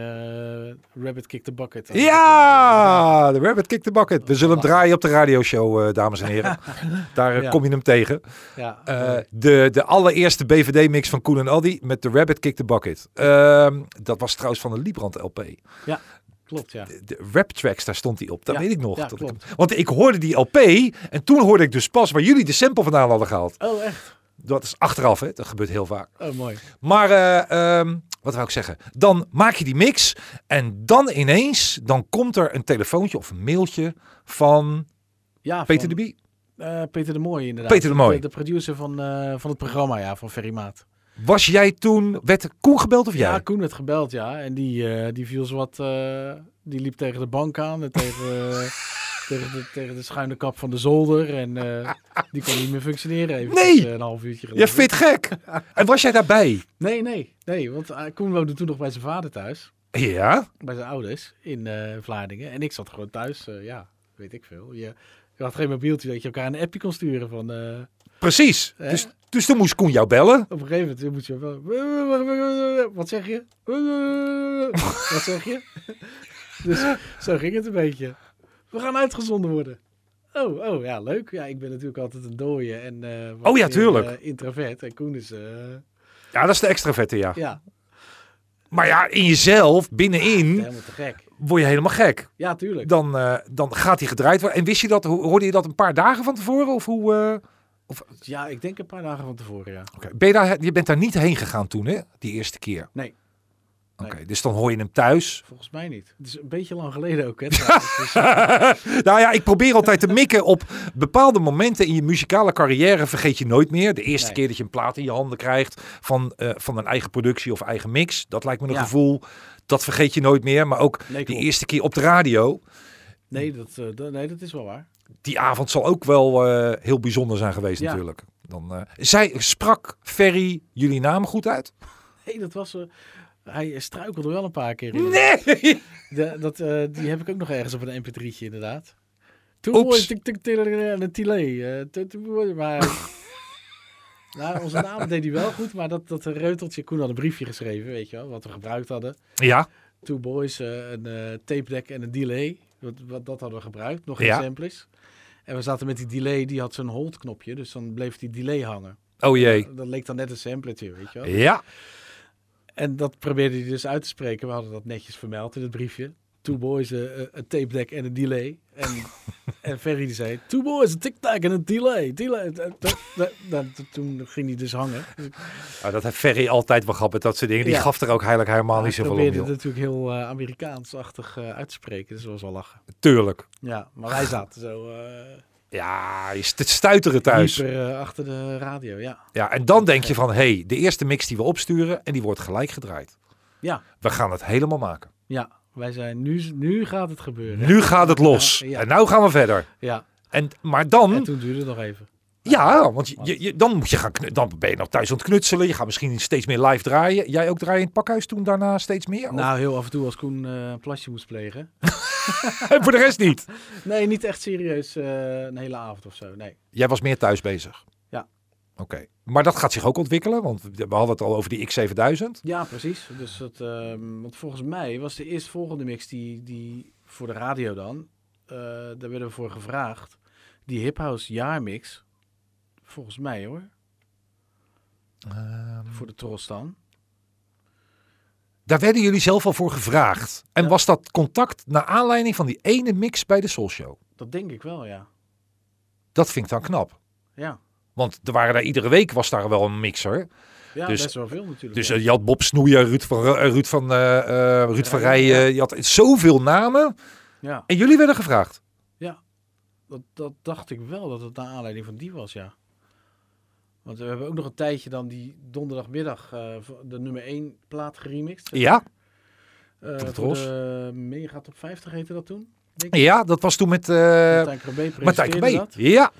Rabbit Kick the Bucket. Ja, de Rabbit Kick the Bucket. We zullen hem Lachen. draaien op de radioshow, eh, dames en heren. Daar eh, Ja. kom je hem tegen. Ja, Eh, de, de allereerste BVD-mix van Koen en Aldi met de Rabbit Kick the Bucket. Ehm, dat was trouwens van de Librand LP. klopt, ja. De rap tracks, daar stond die op. Dat Ja, weet ik nog. ja, dat ik hem- klopt. want ik hoorde die LP en toen hoorde ik dus pas waar jullie de sample vandaan hadden gehaald. Oh, echt? Dat is achteraf, hè? dat gebeurt heel vaak. Oh, mooi. Maar eh, ehm, wat wou ik zeggen? Dan maak je die mix en dan ineens dan komt er een telefoontje of een mailtje van Ja, Peter de van, Bie. eh, Peter de Mooi, inderdaad. Peter de Mooi. De, producer van, eh, van het programma, ja, van Ferry Maat. Was jij toen, werd Koen gebeld of jij? Ja, Koen werd gebeld, ja. En die, eh, die viel wat die liep tegen de bank aan en tegen, eh, tegen, de, tegen de schuine kap van de zolder. En eh, die kon niet meer functioneren. Even Nee! een half uurtje geleden. Je vindt gek. en was jij daarbij? Nee, nee, nee. Want eh, Koen woonde toen nog bij zijn vader thuis. Ja. Bij zijn ouders in eh, Vlaardingen. En ik zat gewoon thuis, eh, ja, weet ik veel. Je, je had geen mobieltje dat je elkaar een appje kon sturen van... eh, Precies. Hè? Dus, dus toen moest Koen jou bellen. Op een gegeven moment moet je wel... Wat zeg je? Wat zeg je? Dus zo ging het een beetje. We gaan uitgezonden worden. Oh, oh ja, leuk. Ja, ik ben natuurlijk altijd een dooie. En, eh, wat Oh ja, meer, tuurlijk. eh, introvert. En Koen is... eh, Ja, dat is de extraverte, ja. ja, Maar ja, in jezelf, binnenin, helemaal te gek. word je helemaal gek. Ja, tuurlijk. Dan, eh, dan gaat hij gedraaid worden. En wist je dat, ho- hoorde je dat een paar dagen van tevoren? Of hoe, eh, Ja, ik denk een paar dagen van tevoren, ja. oké. ben je, daar, je bent daar niet heen gegaan toen, hè? Die eerste keer. Nee. Oké, Nee. dus dan hoor je hem thuis. Volgens mij niet. Het is een beetje lang geleden ook, hè. trouwens. Dus, eh, nou ja, ik probeer altijd te mikken op bepaalde momenten in je muzikale carrière vergeet je nooit meer. De eerste Nee. keer dat je een plaat in je handen krijgt van, eh, van een eigen productie of eigen mix. Dat lijkt me een Ja. gevoel, dat vergeet je nooit meer. Maar ook Nee, die klopt. eerste keer op de radio, nee, dat, eh, dat- nee, dat is wel waar. die avond zal ook wel eh, heel bijzonder zijn geweest Ja. natuurlijk. Dan, eh, zij sprak Ferry jullie naam goed uit? Nee, dat was... eh, hij struikelde wel een paar keer. in. Nee! De, dat, eh, die heb ik ook nog ergens op een mp3'tje, inderdaad. Toen Oeps. hoorde ik- tik- tik- en een Tile. Maar nou, onze naam deed hij wel goed, maar dat, dat reuteltje... Koen had een briefje geschreven, weet je wel, wat we gebruikt hadden. Ja, Two Boys, eh, een eh, tape deck en een delay. Wat, wat, dat hadden we gebruikt, nog geen Ja. samples. En we zaten met die delay, die had zo'n hold knopje, dus dan bleef die delay hangen. oh jee. Dat leek dan net een sampletje, weet je wel. Ja, En dat probeerde hij dus uit te spreken. We hadden dat netjes vermeld in het briefje. Two boys, eh, eh, een tape deck en een delay. En, en Ferry die zei, two boys, een tic-tac en een delay. delay. Eh, dat- dat- dat- dat- toen ging hij dus hangen. Dus ik- Nou, dat heeft Ferry altijd wel gehad met dat soort dingen. Die Ja. gaf er ook heilig helemaal niet ik zoveel om. probeerde het joh. natuurlijk heel eh, Amerikaans-achtig eh, uit te spreken. Dus dat was wel lachen. Tuurlijk. Ja, maar wij zaten zo eh Ja, je st- stuiteren thuis. hyper eh, achter de radio. Ja, Ja, en dan denk je van, hé, hey, de eerste mix die we opsturen en die wordt gelijk gedraaid. ja, We gaan het helemaal maken. ja. Wij zijn, nu, nu gaat het gebeuren. Nu gaat het los. Ja, ja. En nou gaan we verder. Ja, En, maar dan, en toen duurde het nog even. ja, want je, je, dan, moet je gaan knu- dan ben je nog thuis aan het knutselen. Je gaat misschien steeds meer live draaien. Jij ook draaien in het pakhuis toen daarna steeds meer? Of- Nou, heel af en toe als Koen eh, een plasje moest plegen... En voor de rest niet. Nee, niet echt serieus eh, een hele avond of zo. Nee. Jij was meer thuis bezig. Ja. Oké. Maar dat gaat zich ook ontwikkelen, want we hadden het al over die X7000. Ja, precies. Dus dat, ehm, want volgens mij was de eerstvolgende mix die, die voor de radio dan, eh, daar werden we voor gevraagd. Die Hip House jaarmix, volgens mij hoor, voor de Tros dan. Daar werden jullie zelf al voor gevraagd. En Ja. was dat contact naar aanleiding van die ene mix bij de Soul Show? Dat denk ik wel, ja. Dat vind ik dan knap. Ja, Want er waren daar iedere week was daar wel een mixer. ja Dus- best wel veel natuurlijk. Dus ja. eh, je had Bob Snoeier, Ruud van, Ru- eh, Ruud van, eh, eh, Ruud van Ja, Rijen. Je had zoveel namen. ja, En jullie werden gevraagd. dat, dat dacht ik wel dat het naar aanleiding van die was, ja. Want we hebben ook nog een tijdje dan die donderdagmiddag eh, de nummer 1 plaat geremixed. zeg Ja, Eh, Tot het voor ros. de Mega Top 50 heette dat toen. ja dat was toen met eh Martijn Krabbe Martijn presenteerde Krabbe. dat. Ja,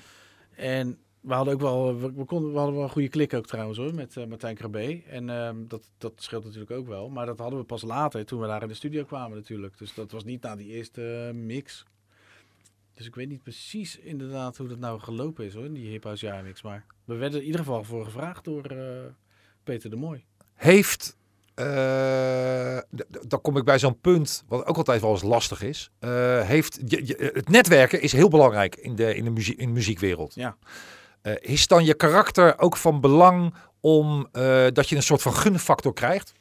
En We hadden ook wel, we, we konden, we hadden wel een goede klik ook trouwens hoor, met eh, Martijn Krabbe. En ehm, dat, dat scheelt natuurlijk ook wel. Maar dat hadden we pas later, toen we daar in de studio kwamen natuurlijk. Dus dat was niet na die eerste eh, mix. Dus ik weet niet precies inderdaad hoe dat nou gelopen is hoor, in die Hip House Jaarmix. Maar we werden in ieder geval voor gevraagd door eh, Peter de Mooi. Heeft, eh, d- d- dan kom ik bij zo'n punt, wat ook altijd wel eens lastig is. Eh, heeft, je- je- het netwerken is heel belangrijk in de, in de, muzie- in de muziekwereld. Ja. Eh, is dan je karakter ook van belang om eh, dat je een soort van gunfactor krijgt?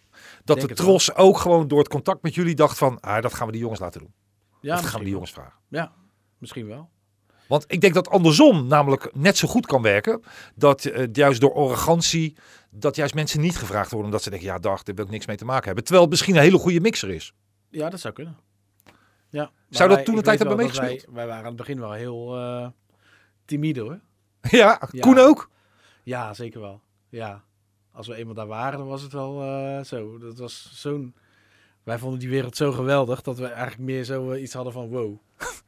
Dat Denk de het wel. tros ook gewoon door het contact met jullie dacht van, ah, dat gaan we die jongens laten doen. Ja, dat gaan we misschien die wel. jongens vragen. Ja, misschien wel. Want ik denk dat andersom namelijk net zo goed kan werken. Dat eh, juist door arrogantie, dat juist mensen niet gevraagd worden. Omdat ze denken, ja dag, daar wil ik niks mee te maken hebben. Terwijl het misschien een hele goede mixer is. Ja, dat zou kunnen. Ja. Maar Zou dat wij- toen de ik tijd weet hebben wel dat wij- meegespeeld? Wij, waren aan het begin wel heel eh, timide hoor. ja, Ja. Koen ook. Ja, zeker wel. Ja. Als we eenmaal daar waren, dan was het wel eh, zo. Dat was zo'n... Wij vonden die wereld zo geweldig dat we eigenlijk meer zo eh, iets hadden van wow. Nu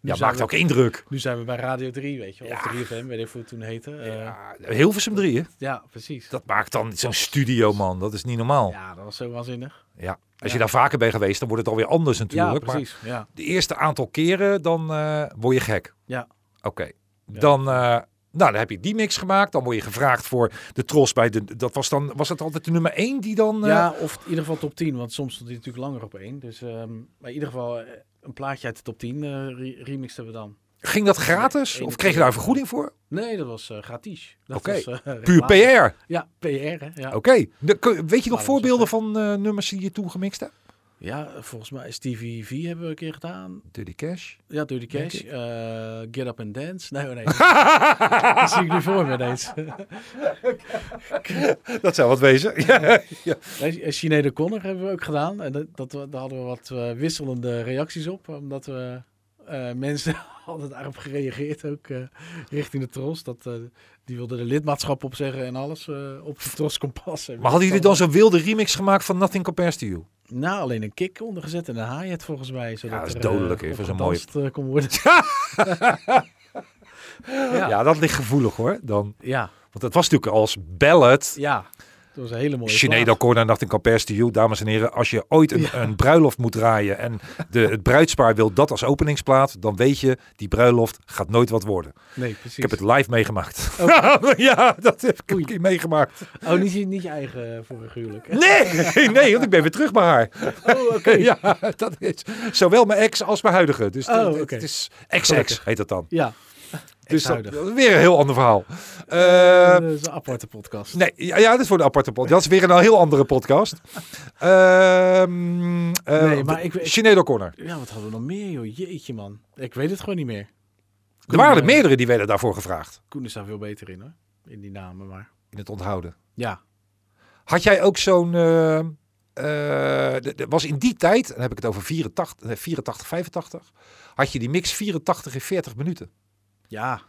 Ja, zijn maakt we- ook indruk. Nu zijn we bij Radio 3, weet je. wel. Of Ja. 3FM, weet ik hoe het toen heette. Eh, ja. Ja, Hilversum 3, hè? precies. Dat maakt dan zo'n studio, man. Dat is niet normaal. Ja. Ja, dat was zo waanzinnig. Als Ja. je daar vaker bent geweest, dan wordt het alweer anders natuurlijk. ja, maar precies. Ja. de eerste aantal keren, dan eh, word je gek. Ja. Oké. Ja. Dan, eh, nou, dan heb je die mix gemaakt. Dan word je gevraagd voor de tros bij de... Dat was, dan, was het altijd de nummer 1 die dan... eh, Ja, of in ieder geval top 10, want soms stond hij natuurlijk langer op één. Dus ehm, maar in ieder geval eh, een plaatje uit de top 10 eh, re- remixten we dan. Ging dat gratis? Nee, Of één kreeg je daar een vergoeding voor? Nee, dat was eh, gratis. Dat Oké. was, eh, Puur reclame. PR. Oké. Ja, PR. Hè? Ja. De- kun- Weet je dat nog is voorbeelden van eh, nummers die je toen gemixt hebt? ja, volgens mij Stevie V hebben we een keer gedaan. Dirty Cash. Ja, Dirty Cash. Denk ik. eh, Get Up and Dance. Nee, oh nee. dat zie ik nu voor me ineens. Dat zou wat wezen. Ja. Nee, eh, Sinead de Connor hebben we ook gedaan. En dat, dat, we- daar hadden we wat eh, wisselende reacties op. Omdat we eh, mensen hadden daarop gereageerd. Ook eh, richting de Tros. Dat, eh, die wilden de lidmaatschap opzeggen en alles eh, op de Tros kon passen. Maar hadden jullie dan zo'n wilde remix gemaakt van Nothing Compares to You? Nou, alleen een kick ondergezet en een hi-hat volgens mij. Zodat dat is er, eh, dodelijk, hè, op voor zo'n mooie- gedanst, eh, kon worden. Ja. dat ligt gevoelig hoor. Dan, Ja, want dat was natuurlijk als ballad. ja. Dat was een hele mooie Sinead plaat. O'Connor, Nothing Compares to You. Dames en heren, als je ooit een, een bruiloft moet draaien en de, het bruidspaar wil dat als openingsplaat, dan weet je, die bruiloft gaat nooit wat worden. Nee, precies. Ik heb het live meegemaakt. ja, dat heb ik Oei. een keer meegemaakt. Oh, niet, je- niet je eigen eh, vorige huwelijk. Nee, nee, want ik ben weer terug bij haar. Oh, oké. Ja, dat is zowel mijn ex als mijn huidige. Dus Oh, het, oké. het is ex-ex Gelukkig. heet dat dan. Ja, Dus dat, Ex-huidige. weer een heel ander verhaal. Eh, dat is een aparte podcast. nee, ja, ja, dat is voor een aparte podcast. Dat is weer een heel andere podcast. Ehm eh Nee, maar ik- ik- Sinead O'Connor. Ja, wat hadden we nog meer, joh? Jeetje, man. Ik weet het gewoon niet meer. Er waren er eh, meerdere die werden daarvoor gevraagd. Koen is daar veel beter in, hoor. In die namen, maar... In het onthouden. Ja. Had jij ook zo'n... eh, eh, d- d- was in die tijd, dan heb ik het over 84, eh, 84, 85, had je die mix 84 in 40 minuten. Ja.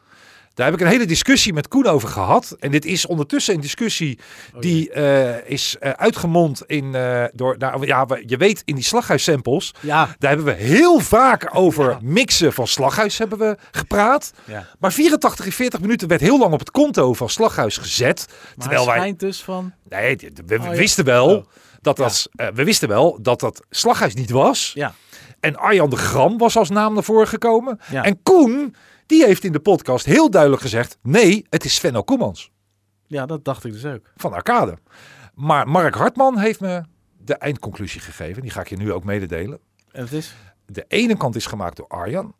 Daar heb ik een hele discussie met Koen over gehad. En dit is ondertussen een discussie Oh, jee. die eh, is eh, uitgemond in... eh, door, nou, ja, we- je weet, in die slaghuissamples... Ja. Daar hebben we heel vaak over mixen van slaghuis hebben we gepraat. ja. Maar 84 in 40 minuten werd heel lang op het konto van slaghuis gezet. Maar terwijl Terwijl wij... schijnt dus van... Nee, dit- we Oh, ja. wisten wel Oh. dat Ja. dat, eh, we wisten wel dat dat slaghuis niet was. Ja. En Arjan de Gram was als naam naar voren gekomen. Ja. En Koen, die heeft in de podcast heel duidelijk gezegd: nee, het is Sven Koemans Ja, dat dacht ik dus ook. van Arcade. Maar Mark Hartman heeft me de eindconclusie gegeven. Die ga ik je nu ook mededelen. En het is... De ene kant is gemaakt door Arjan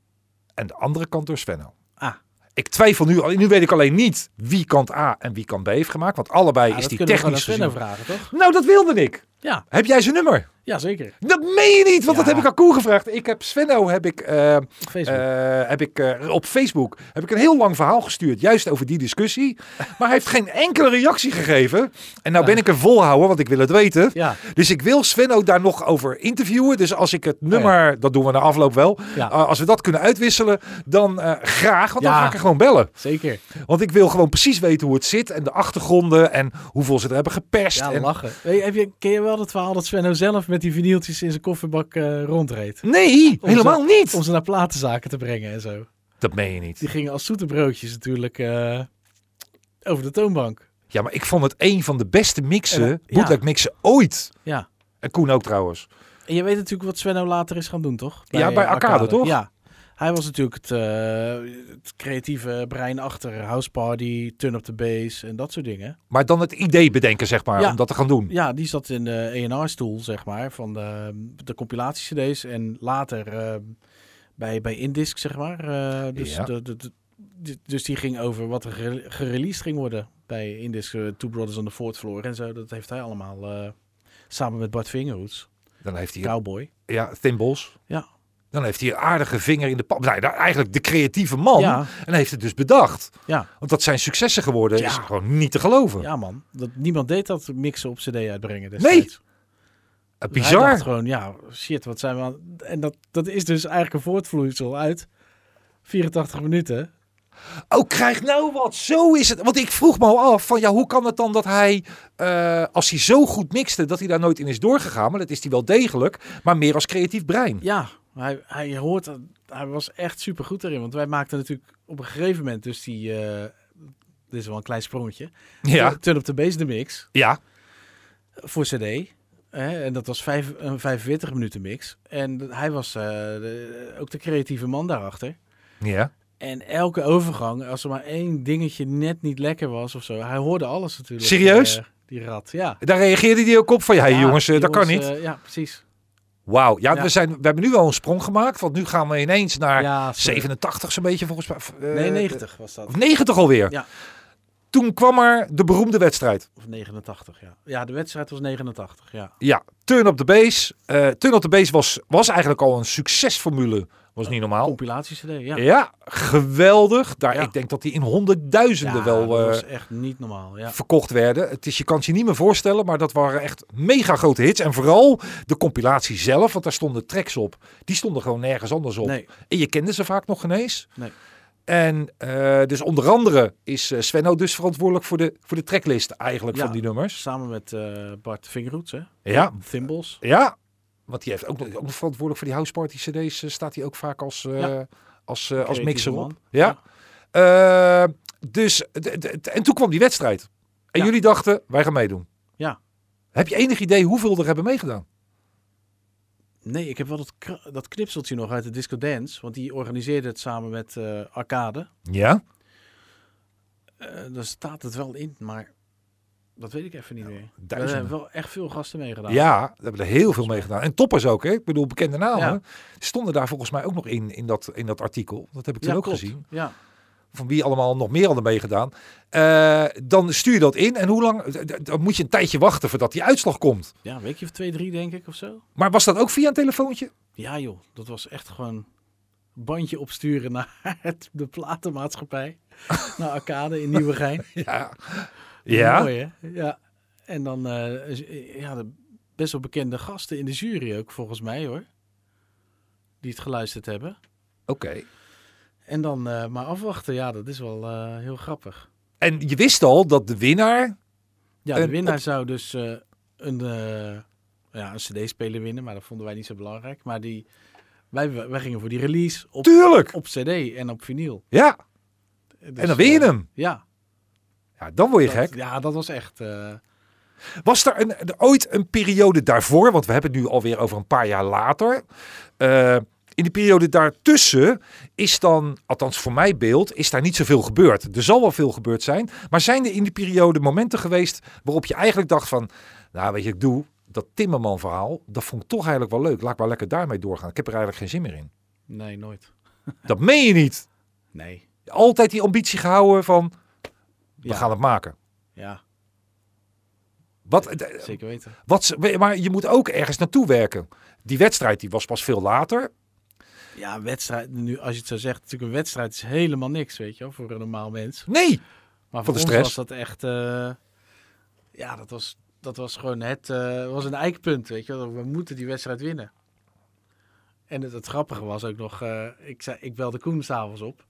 en de andere kant door Svenno. Ah. Ik twijfel nu, al- nu weet ik alleen niet wie kant A en wie kant B heeft gemaakt. Want allebei Ja, is dat die kunnen we gewoon technisch aan Sven gezien... vragen, toch? Nou, dat wilde ik. Ja. Heb jij zijn nummer? Ja, zeker. Dat meen je niet, want dat Ja. heb ik aan Koen gevraagd. Ik heb Svenno, heb ik... eh, Op Facebook. Eh, heb ik, eh, op Facebook heb ik een heel lang verhaal gestuurd, juist over die discussie. Maar hij heeft geen enkele reactie gegeven. En nou ben ik er volhouden, want ik wil het weten. ja. Dus ik wil Sven ook daar nog over interviewen. Dus als ik het nummer, dat doen we na afloop wel. Ja. eh, als we dat kunnen uitwisselen, dan eh, graag. Want dan Ja. ga ik er gewoon bellen. Zeker. Want ik wil gewoon precies weten hoe het zit. En de achtergronden. En hoeveel ze er hebben geperst. Ja, en... lachen. Hey, heb je, ken je wel dat verhaal dat Svenno zelf met die vinyltjes in zijn kofferbak eh, rondreed? Nee, helemaal niet. Om ze naar platenzaken te brengen en zo. Dat meen je niet. Die gingen als zoete broodjes natuurlijk eh, over de toonbank. Ja, maar ik vond het een van de beste mixen, eh, Ja. bootleg mixen ooit. Ja. En Koen ook trouwens. En je weet natuurlijk wat Svenno later is gaan doen, toch? Ja, bij Arcade, toch? Ja. Hij was natuurlijk het, eh, het creatieve brein achter House Party, Turn Up The Bass en dat soort dingen. Maar dan het idee bedenken, zeg maar, Ja. om dat te gaan doen. Ja, die zat in de ENR-stoel, zeg maar, van de, de compilatie-cd's. En later eh, bij, bij Indisc, zeg maar. Eh, dus, Ja. de, de- de- di- dus die ging over wat er gere- gereleased ging worden bij Indisc. eh, Two Brothers on the Fourth Floor en zo. Dat heeft hij allemaal eh, samen met Bart Vingerhoets, Dan heeft hij Cowboy. ja, Thimbles. Ja. Dan heeft hij een aardige vinger in de pap. Nou, daar- eigenlijk de creatieve man. Ja, En heeft het dus bedacht. Ja. Want dat zijn successen geworden Ja. is gewoon niet te geloven. Eh, ja, man. Dat, niemand deed dat mixen op cd uitbrengen Nee! destijds. Eh, Dus Bizar. Hij dacht gewoon, ja, shit, wat zijn we aan... En dat, dat is dus eigenlijk een voortvloeisel uit 84 minuten... Oh, krijg nou wat. Zo is het. Want ik vroeg me al af van ja, hoe kan het dan dat hij, eh, als hij zo goed mixte, dat hij daar nooit in is doorgegaan. Maar dat is hij wel degelijk, maar meer als creatief brein. Ja, hij, hij hoort, dat- hij was echt super goed daarin. Want wij maakten natuurlijk op een gegeven moment dus die, eh, dit is wel een klein sprongetje. Ja, Turn- Turn Up The Bass de mix ja. voor cd. Hè, en dat was vijf, een 45 minuten mix. En hij was eh, de- ook de creatieve man daarachter. ja. En elke overgang, als er maar één dingetje net niet lekker was of zo. Hij hoorde alles natuurlijk. Serieus? eh, die rat, ja. Daar reageerde hij ook op van ja, Ja, jongens, eh, dat kan niet. jongens, eh, ja, precies. Wauw. Ja, ja. We, zijn, we hebben nu wel een sprong gemaakt, want nu gaan we ineens naar ja, sorry. 87 zo'n beetje volgens mij. Of, eh, Nee, 90 was dat. Of 90 alweer. Ja. Toen kwam er de beroemde wedstrijd. Of 89, ja. Ja, de wedstrijd was 89, ja. Ja, Turn Up The Base. Eh Turn Up The Base was, was eigenlijk al een succesformule. Was niet normaal. Compilaties CD, ja. Ja, geweldig. Daar, Ja. Ik denk dat die in honderdduizenden Ja, wel dat eh, was echt niet normaal, ja. verkocht werden. Het is, je kan het je niet meer voorstellen, maar dat waren echt mega grote hits. En vooral de compilatie zelf, want daar stonden tracks op. Die stonden gewoon nergens anders op. Nee, En je kende ze vaak nog geen eens. Nee. En eh, dus onder andere is eh, Svenno dus verantwoordelijk voor de, voor de tracklist eigenlijk Ja. van die nummers. samen met eh, Bart Vingerhoets, hè. Ja, Thimbles. ja. Want die heeft ook, nog- ook nog verantwoordelijk voor die house party cd's. eh, staat hij ook vaak als, eh, Ja. als, eh, als Creatieve mixer op. man. Ja. Eh, dus, d- d- d- en toen kwam die wedstrijd. En Ja. jullie dachten, wij gaan meedoen. Ja. Heb je enig idee hoeveel er hebben meegedaan? Nee, ik heb wel dat, kra- dat knipseltje nog uit de Disco Dance, want die organiseerde het samen met eh, Arcade. Ja. Eh, daar staat het wel in, maar dat weet ik even niet meer. Er duizenden. hebben wel echt veel gasten meegedaan. Ja, daar hebben er heel veel mee gedaan. En toppers ook, hè? Ik bedoel, bekende namen. Ja. Stonden daar volgens mij ook nog in, in dat, in dat artikel. Dat heb ik toen Ja, ook klopt. gezien. Ja. Van wie allemaal nog meer hadden meegedaan. Eh, dan stuur je dat in. En hoe lang? d- d- Dan moet je een tijdje wachten voordat die uitslag komt. ja, een weekje of twee, drie denk ik of zo. Maar was dat ook via een telefoontje? Ja joh, dat was echt gewoon bandje opsturen naar het, de platenmaatschappij. naar Arcade in Nieuwegein. Ja. Ja. Mooi, hè? Ja. En dan eh, is- eh, ja, de best wel bekende gasten in de jury ook, volgens mij hoor. Die het geluisterd hebben. Oké. En dan eh, maar afwachten. Ja, dat is wel eh, heel grappig. En je wist al dat de winnaar. Ja, de En winnaar zou dus eh, een, eh, ja, een cd-speler winnen, maar dat vonden wij niet zo belangrijk. Maar die, wij, wij gingen voor die release op, Tuurlijk! op cd en op vinyl. Ja. Dus, En dan win je eh, hem. Ja. Ja, dan word je dat- gek. ja, dat was echt... eh, Was er een, er ooit een periode daarvoor, want we hebben het nu alweer over een paar jaar later. eh, in die periode daartussen is dan, althans voor mijn beeld, is daar niet zoveel gebeurd. Er zal wel veel gebeurd zijn. Maar zijn er in die periode momenten geweest waarop je eigenlijk dacht van... Nou, weet je, ik doe dat Timmerman verhaal, dat vond ik toch eigenlijk wel leuk. Laat ik maar lekker daarmee doorgaan. Ik heb er eigenlijk geen zin meer in. nee, nooit. Dat meen je niet. Nee. Altijd die ambitie gehouden van, we Ja, gaan het maken. ja Wat, zeker weten. Wat, ze- maar je moet ook ergens naartoe werken. Die wedstrijd die was pas veel later. Ja, een wedstrijd. Nu, als je het zo zegt, natuurlijk een wedstrijd is helemaal niks, weet je wel, voor een normaal mens. Nee. Maar Voor voor de ons stress. was dat echt, eh, ja, dat was, dat was gewoon het, eh, was een eikpunt, weet je wel. We moeten die wedstrijd winnen. En het, het grappige was ook nog, eh, ik, zei, ik belde Koen s'avonds op.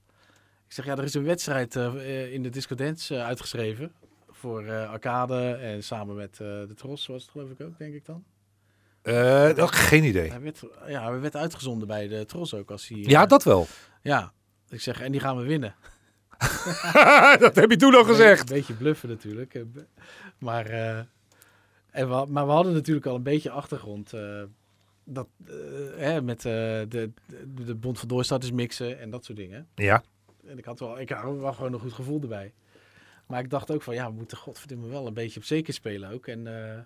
Ik zeg, ja, er is een wedstrijd eh, eh, in de Disco Dance eh, uitgeschreven. Voor eh, Arcade en samen met eh, de Tros was het geloof ik ook, denk ik dan. Eh, dat- geen idee. Hij werd, ja, hij werd uitgezonden bij de Tros ook als hij... eh, Ja, dat wel. ja, ik zeg, en die gaan we winnen. dat heb je toen al gezegd. Een beetje bluffen natuurlijk. Eh, b- Maar, eh, en we, maar we hadden natuurlijk al een beetje achtergrond. eh, dat, eh, hè, met eh, de, de, de Bond van Doorstarters mixen en dat soort dingen. Ja, En ik had wel, ik had wel gewoon een goed gevoel erbij. Maar ik dacht ook van, ja, we moeten godverdomme wel een beetje op zeker spelen ook. En eh,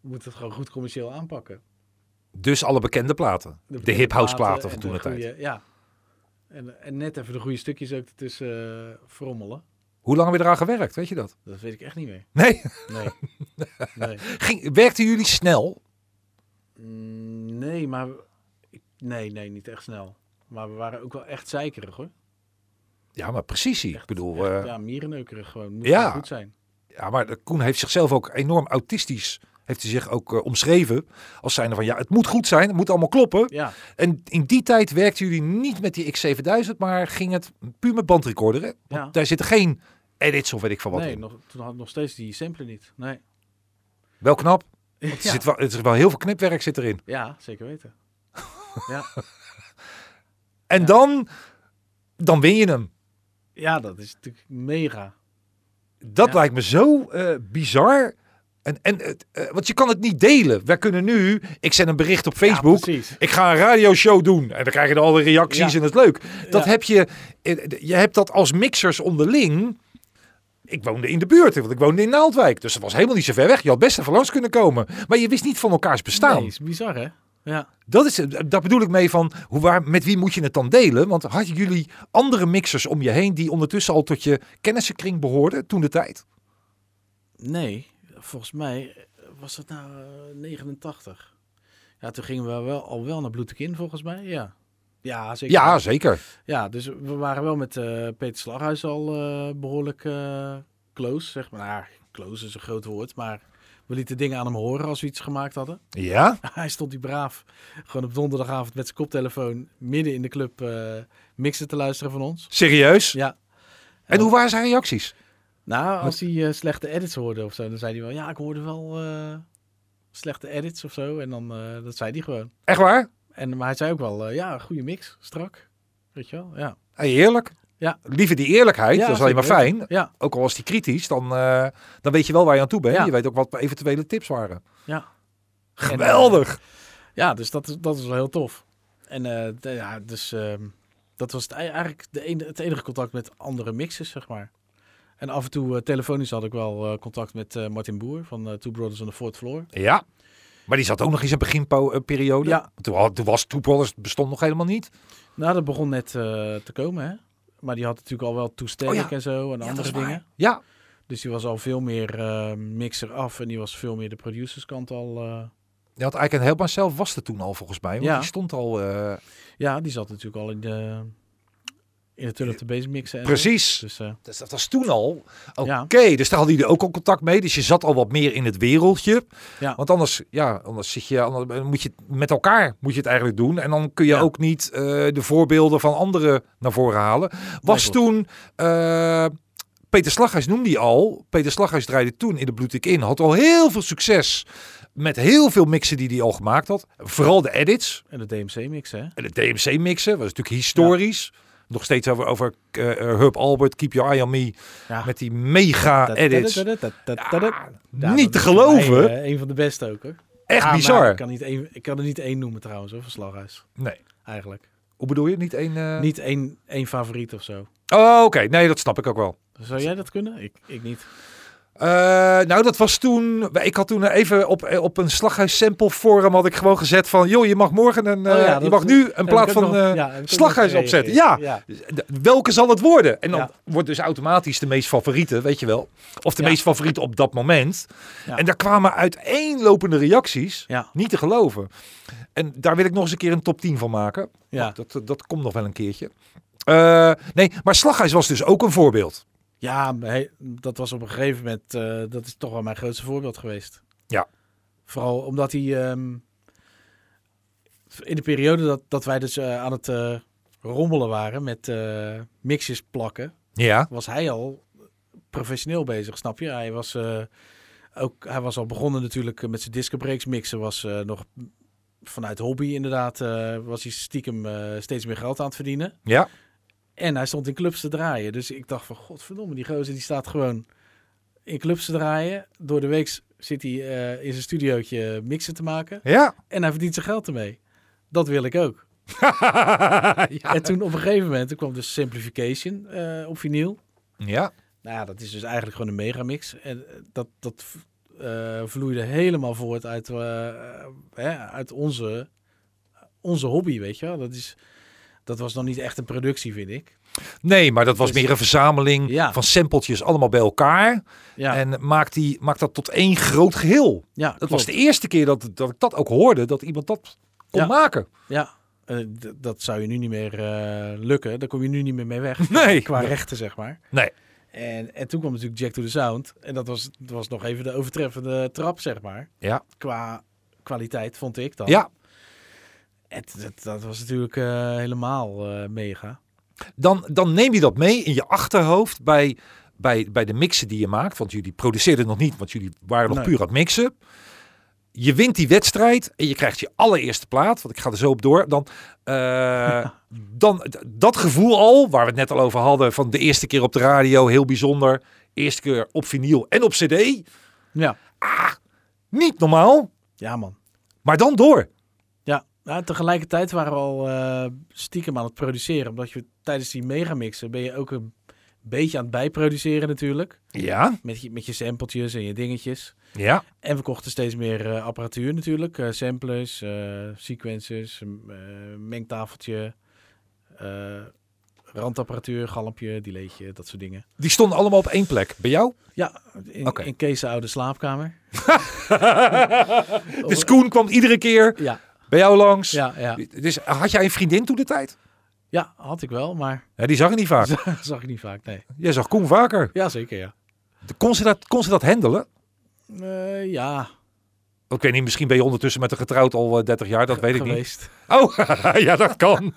we moeten het gewoon goed commercieel aanpakken. dus alle bekende platen. De, bekende hip house platen en van toen de tijd. goede- Ja. En, en net even de goede stukjes ook ertussen eh, frommelen. Hoe lang hebben we eraan gewerkt, weet je dat? Dat weet ik echt niet meer. Nee, Nee. nee. Ging, werkten jullie snel? Mm, Nee, maar... ik- Nee, nee, niet echt snel. Maar we waren ook wel echt zeikerig, hoor. Ja, maar precisie. Echt, ik bedoel, echt, eh, ja, mierenneukerig gewoon. Moet ja. gewoon goed zijn. Ja, maar Koen heeft zichzelf ook enorm autistisch. Heeft hij zich ook eh, omschreven als zijnde van ja, het moet goed zijn, het moet allemaal kloppen. Ja, En in die tijd werkten jullie niet met die X7000, maar ging het puur met bandrecorder. Hè? Want Ja. Daar zitten geen edits of weet ik van wat nee, in. nog, toen had ik nog steeds die sampler niet. Nee. Wel knap. Ja, Er zit wel, er is wel heel veel knipwerk zit erin. ja zeker weten. ja. En Ja. dan, dan win je hem. ja, dat is natuurlijk mega. Dat Ja. lijkt me zo eh, bizar. En, en, het, eh, want je kan het niet delen. Wij kunnen nu, ik zet een bericht op Facebook. Ja, precies. Ik ga een radioshow doen. En dan krijg je dan al die reacties Ja. en dat is leuk. Dat Ja. heb je, eh, d- je hebt dat als mixers onderling. Ik woonde in de buurt, want ik woonde in Naaldwijk. Dus dat was helemaal niet zo ver weg. Je had best even langs kunnen komen. Maar je wist niet van elkaars bestaan. Nee, is bizar, hè? Ja. Dat is, daar bedoel ik mee van, hoe, waar, met wie moet je het dan delen? Want hadden jullie andere mixers om je heen die ondertussen al tot je kennissenkring behoorden toen de tijd? Nee, volgens mij was dat nou eh, 89. Ja, toen gingen we wel, al wel naar Bloedek in, volgens mij. Ja, ja zeker. Ja, zeker. Ja, dus we waren wel met eh, Peter Slaghuis al eh, behoorlijk eh, close, zeg maar. Nou, close is een groot woord, maar we lieten dingen aan hem horen als we iets gemaakt hadden. Ja? Hij stond die braaf gewoon op donderdagavond met zijn koptelefoon midden in de club eh mixen te luisteren van ons. Serieus? Ja. En hoe waren zijn reacties? Nou, als hij eh, slechte edits hoorde of zo, dan zei hij wel, ja, ik hoorde wel eh, slechte edits of zo. En dan, eh, dat zei hij gewoon. Echt waar? En, maar hij zei ook wel, eh, ja, goede mix, strak. Weet je wel, ja. Hey, eerlijk. Ja. Liever die eerlijkheid, Ja, dat is alleen maar zeker fijn. Ja, Ook al was die kritisch, dan, eh, dan weet je wel waar je aan toe bent. Ja. Je weet ook wat eventuele tips waren. ja. Geweldig! Ja, dus dat, is- dat is wel heel tof. En eh, d- ja, dus ehm, dat was het, ei- eigenlijk de ene, het enige contact met andere mixers, zeg maar. En af en toe eh, telefonisch had ik wel eh, contact met eh, Martin Boer van eh, Two Brothers on the Fourth Floor. ja. Maar die zat ook nog in zijn beginperiode. eh, Ja. Toen, had- toen was Two Brothers bestond nog helemaal niet. Nou, dat begon net eh, te komen, hè. Maar die had natuurlijk al wel toestemming Oh ja. en zo en Ja, dat andere is waar. dingen. Ja. Dus die was al veel meer eh, mixer af en die was veel meer de producerskant al. eh, Je had eigenlijk helemaal zelf was er toen al volgens mij. Want Ja. die stond al. eh, ja, die zat natuurlijk al in de, in de turn up the bass mixen. En zo. precies. Dus, eh, Dus dat was toen al. Oké, Ja. dus daar hadden jullie ook al contact mee. Dus je zat al wat meer in het wereldje. Ja. Want anders, ja, anders, zit je, anders moet je het met elkaar moet je het eigenlijk doen. En dan kun je Ja. ook niet eh, de voorbeelden van anderen naar voren halen. Was klopt. toen. eh, Peter Slaghuis noemde die al. Peter Slaghuis draaide toen in de Bloedik in. Had al heel veel succes met heel veel mixen die hij al gemaakt had. Vooral de edits. en de DMC mixen, hè. En de DMC mixen was natuurlijk historisch. Nog steeds over, over eh, eh, Herb Albert, Keep Your Eye On Me. Ja. Met die mega edits. Ja, Ja, niet te geloven. een van de beste ook hoor. Echt Ja, maar bizar. Ik kan, niet één, ik kan er niet één noemen trouwens hoor, van Slaghuis. Nee. Eigenlijk. Hoe bedoel je? Niet één... eh, Niet één, één favoriet of zo. Oh, oké. Nee, dat snap ik ook wel. Zou jij dat kunnen? Ik, ik niet. Eh, nou, dat was toen... Ik had toen even op, eh, op een slaghuis sample forum had ik gewoon gezet van... joh, je mag morgen een... eh, Oh ja, je dat- mag nu een Heb plaat ik ook van nog- eh, ja, heb ik ook nog slaghuis gereageerd. opzetten. Ja. ja. De- Welke zal het worden? En dan Ja. wordt dus automatisch de meest favoriete, weet je wel. Of de Ja. meest favoriete op dat moment. Ja. En daar kwamen uiteenlopende reacties. Ja. Niet te geloven. En daar wil ik nog eens een keer een top 10 van maken. Oh, Ja. Dat, dat, dat komt nog wel een keertje. Eh, nee, maar Slaghuis was dus ook een voorbeeld. Ja, maar he- dat was op een gegeven moment, eh, dat is toch wel mijn grootste voorbeeld geweest. Ja. Vooral omdat hij ehm, in de periode dat, dat wij dus eh, aan het eh, rommelen waren met eh mixjes plakken, Ja. was hij al professioneel bezig, snap je? Hij was, eh, ook, hij was al begonnen natuurlijk met zijn disco breaks mixen, was eh, nog vanuit hobby inderdaad, eh, was hij stiekem eh, steeds meer geld aan het verdienen. Ja. En hij stond in clubs te draaien. Dus ik dacht van, godverdomme, die gozer die staat gewoon in clubs te draaien. Door de week zit hij eh, in zijn studiootje mixen te maken. Ja. En hij verdient zijn geld ermee. Dat wil ik ook. ja. En toen op een gegeven moment, toen kwam dus Simplification eh, op vinyl. Ja. Nou ja, dat is dus eigenlijk gewoon een megamix. En eh, dat, dat v- eh, vloeide helemaal voort uit, eh, eh, hè, uit onze, onze hobby, weet je wel. Dat, is, dat was nog niet echt een productie, vind ik. Nee, maar dat was Dus- meer een verzameling Ja. van sampletjes allemaal bij elkaar. Ja, En maakt, die, maakt dat tot één groot geheel. ja Dat klopt. was de eerste keer dat, dat ik dat ook hoorde, dat iemand dat kon Ja. maken. Ja, eh, d- dat zou je nu niet meer eh, lukken. Daar kom je nu niet meer mee weg. Nee. Qua Nee. rechten, zeg maar. Nee. En, en toen kwam natuurlijk Jack to the Sound. En dat was, dat was nog even de overtreffende trap, zeg maar. Ja. Qua kwaliteit, vond ik dan. Ja, En t- dat, dat was natuurlijk eh, helemaal eh, mega. dan, dan neem je dat mee in je achterhoofd bij, bij, bij de mixen die je maakt. Want jullie produceerden nog niet, want jullie waren nog Nee. puur aan het mixen. Je wint die wedstrijd en je krijgt je allereerste plaat. Want ik ga er zo op door. Dan, eh, dan d- dat gevoel al, waar we het net al over hadden. Van de eerste keer op de radio, heel bijzonder. Eerste keer op vinyl en op cd. Ja, Niet normaal, ja man. maar dan door. Ja, nou, tegelijkertijd waren we al eh, stiekem aan het produceren. Omdat je tijdens die megamixen ben je ook een beetje aan het bijproduceren natuurlijk. Ja, Met je, met je sampletjes en je dingetjes. ja, En we kochten steeds meer eh, apparatuur natuurlijk. eh samplers, eh, sequences, m- eh, mengtafeltje, eh, randapparatuur, galmpje, delaytje, dat soort dingen. die stonden allemaal op één plek. Bij jou? Ja, in, Oké. in Kees' oude slaapkamer. Dus Koen kwam iedere keer Ja, bij jou langs. ja, ja. Dus had jij een vriendin toen de tijd? ja, had ik wel, maar Ja, die zag je niet vaak. zag ik niet vaak, nee. Jij zag Koen vaker. Ja, zeker, ja. De- Kon ze dat, kon ze dat handelen? Eh, ja, Ik weet niet, misschien ben je ondertussen met een getrouwd al eh, 30 jaar, dat weet ik niet. geweest. Oh, ja, dat kan.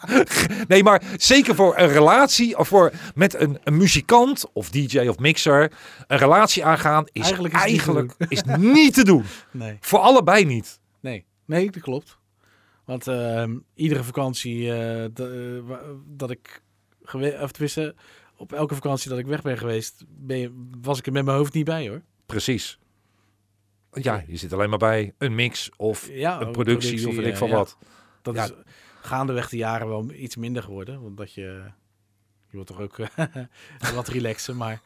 Nee, maar zeker voor een relatie of voor met een, een muzikant of DJ of mixer, een relatie aangaan is Eigenlijk eigenlijk, is het niet te eigenlijk is niet te doen. Nee. Voor allebei niet. Nee, nee, dat klopt. Want ehm, iedere vakantie eh, d- eh, wa- dat ik geweest, of tenminste, op elke vakantie dat ik weg ben geweest, ben je- was ik er met mijn hoofd niet bij hoor. Precies. Ja, je zit alleen maar bij een mix of Ja, een productie of weet ik eh, van ja. wat. Dat Ja. is gaandeweg de jaren wel iets minder geworden, omdat je, je wordt toch ook wat relaxen, maar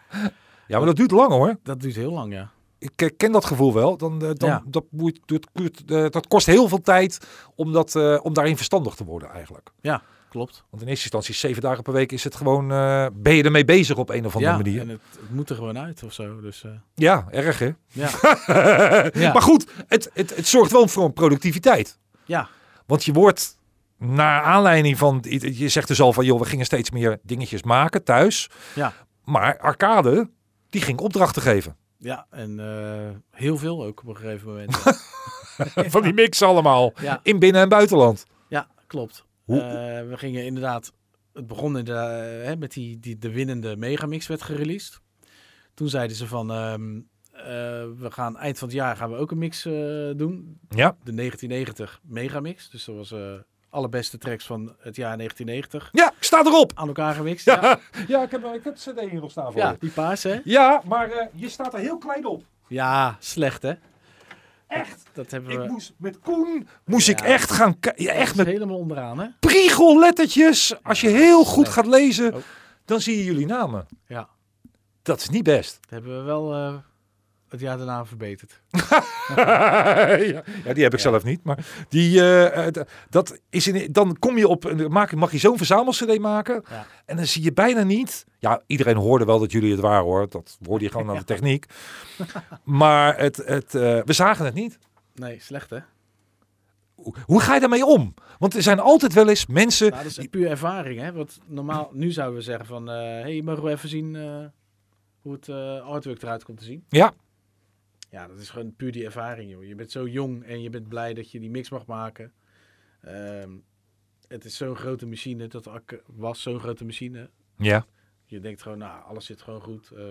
Ja, maar dat duurt lang hoor. dat duurt heel lang ja. ik eh, ken dat gevoel wel. Dan, eh, dan, Ja. dat, moet, dat, kuurt- eh, dat kost heel veel tijd om, dat, eh, om daarin verstandig te worden eigenlijk. Klopt. Want in eerste instantie zeven dagen per week is het gewoon... eh, ben je ermee bezig op een of andere ja, manier? en het, het moet er gewoon uit of zo. Dus eh, Ja, erg hè? ja, Ja. Maar goed, het, het, het zorgt wel voor een productiviteit. ja, Want je wordt naar aanleiding van... Je je zegt dus al van, joh, we gingen steeds meer dingetjes maken thuis. Ja. Maar Arcade, die ging opdrachten geven. ja. En eh, heel veel ook op een gegeven moment. Van die mix allemaal. ja. In binnen- en buitenland. Ja, klopt. Hoe- Eh, we gingen inderdaad... Het begon inderdaad, eh, hè, met die, die de winnende megamix werd gereleased. Toen zeiden ze van... ehm, eh, we gaan eind van het jaar gaan we ook een mix eh, doen. Ja, De 1990 megamix. Dus dat was eh alle beste tracks van het jaar 1990. ja sta erop. Aan elkaar gemixt. Ja, ja. Ja, ja ik, heb, eh, ik heb het CD hier nog staan voor je. die paars hè? Ja, maar eh, je staat er heel klein op. Ja, slecht hè? Echt. Dat hebben we Ik moest met Koen moest Ja. ik echt gaan ki- ja, echt dat met is helemaal onderaan hè? priegellettertjes. Als je heel goed slecht. gaat lezen, Oh. dan zie je jullie namen. Ja, Dat is niet best. dat hebben we wel eh, het jaar daarna verbeterd. ja, ja, die heb ik zelf niet, maar die eh, eh, d- dat is in, dan kom je op een- maak mag je zo'n verzamelcd maken Ja. en dan zie je bijna niet. Ja, iedereen hoorde wel dat jullie het waren hoor. Dat hoorde je gewoon aan de techniek. Maar het, het, eh, we zagen het niet. Nee, slecht hè? Hoe- Hoe ga je daarmee om? Want er zijn altijd wel eens mensen. Nou, dat is puur ervaring, hè? Want normaal, nu zouden we zeggen van... eh hey, mogen we even zien eh, hoe het eh, artwork eruit komt te zien? Ja. Ja, dat is gewoon puur die ervaring, joh. Je bent zo jong en je bent blij dat je die mix mag maken. Ehm, het is zo'n grote machine. Dat ak- was zo'n grote machine. Ja. Je denkt gewoon, nou, alles zit gewoon goed. eh.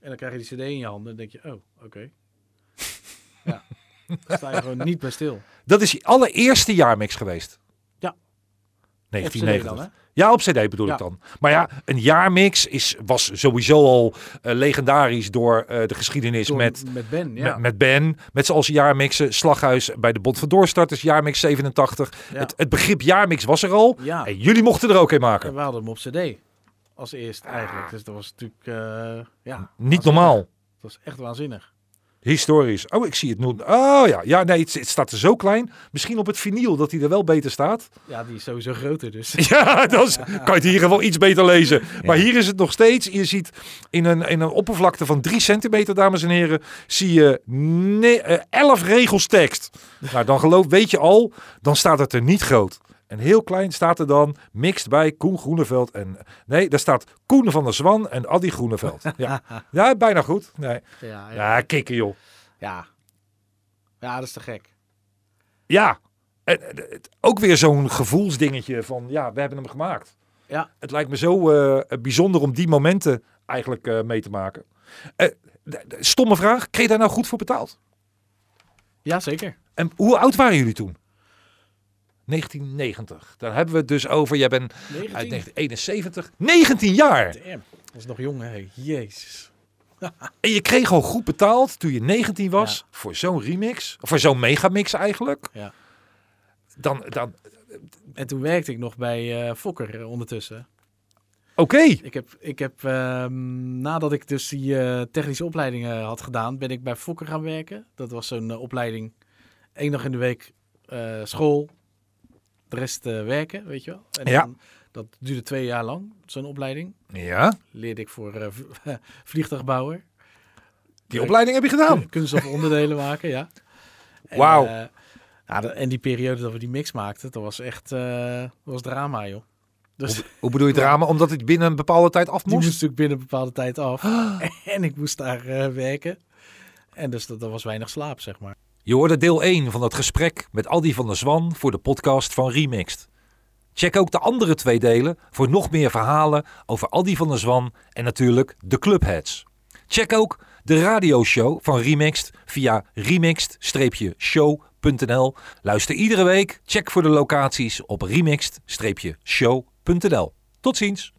en dan krijg je die cd in je handen en denk je, oh, oké. ja, dan sta je gewoon niet bij stil. Dat is je allereerste jaarmix geweest. Ja. 1990. FCD dan, hè? Ja, op CD bedoel Ja. ik dan. Maar ja, een jaarmix is, was sowieso al eh, legendarisch door eh, de geschiedenis Door- met, met Ben, ja. met, met Ben. Met zoals jaarmixen. Slaghuis bij de Bond van Doorstarters, jaarmix 87. Ja. Het, het begrip jaarmix was er al. ja. En jullie mochten er ook een En maken. we hadden hem op CD. Als eerst eigenlijk. Dus dat was natuurlijk. eh, ja, Niet waanzinnig. normaal. Dat was echt waanzinnig. Historisch. Oh, ik zie het nu. Oh ja, ja nee, het, het staat er zo klein. Misschien op het vinyl dat hij er wel beter staat. Ja, die is sowieso groter, dus. Ja, dan is- kan je het hier wel iets beter lezen. Maar hier is het nog steeds. Je ziet in een, in een oppervlakte van 3 centimeter, dames en heren, zie je 11 regels tekst. Nou, dan geloof, weet je al, dan staat het er niet groot. En heel klein staat er dan, mixed bij Koen Groeneveld en... Nee, daar staat Koen van der Zwan en Addy Groeneveld. Ja, ja bijna goed. Nee. Ja, ja. Ja, kikken joh. ja. Ja, dat is te gek. Ja, en, eh, het- ook weer zo'n gevoelsdingetje van ja, we hebben hem gemaakt. Ja. Het lijkt me zo eh, bijzonder om die momenten eigenlijk eh, mee te maken. Eh, d- d- stomme vraag, kreeg je daar nou goed voor betaald? Ja, zeker. En hoe oud waren jullie toen? 1990. Dan hebben we het dus over, jij bent 19. uit 1971, 19 jaar. Damn. Dat is nog jong, hè. Jezus. En je kreeg al goed betaald toen je 19 was Ja. voor zo'n remix, of voor zo'n megamix eigenlijk. Ja. Dan, dan En toen werkte ik nog bij eh, Fokker eh, ondertussen. oké. Ik heb, ik heb ehm, nadat ik dus die eh, technische opleidingen had gedaan, ben ik bij Fokker gaan werken. Dat was zo'n eh, opleiding, één dag in de week eh, school, de rest eh, werken, weet je wel. En Ja. dan- dat duurde twee jaar lang, zo'n opleiding. Ja, Leerde ik voor eh, v- vliegtuigbouwer. die opleiding heb je gedaan. Kun- Kunststof onderdelen maken, ja. Oh. En, Wauw. eh, ja, de- en die periode dat we die mix maakten, dat was echt eh, dat was drama, joh. Dus Hoe, hoe bedoel je drama? Omdat het binnen een bepaalde tijd af die moest moest? natuurlijk binnen een bepaalde tijd af. En ik moest daar eh, werken. En dus dat, dat was weinig slaap, zeg maar. Je hoorde deel 1 van dat gesprek met Aldi van der Zwan voor de podcast van Remixed. Check ook de andere twee delen voor nog meer verhalen over Aldi van der Zwan en natuurlijk de Clubheads. Check ook de radioshow van Remixed via remixed-show.nl. Luister iedere week. Check voor de locaties op remixed-show.nl. Tot ziens.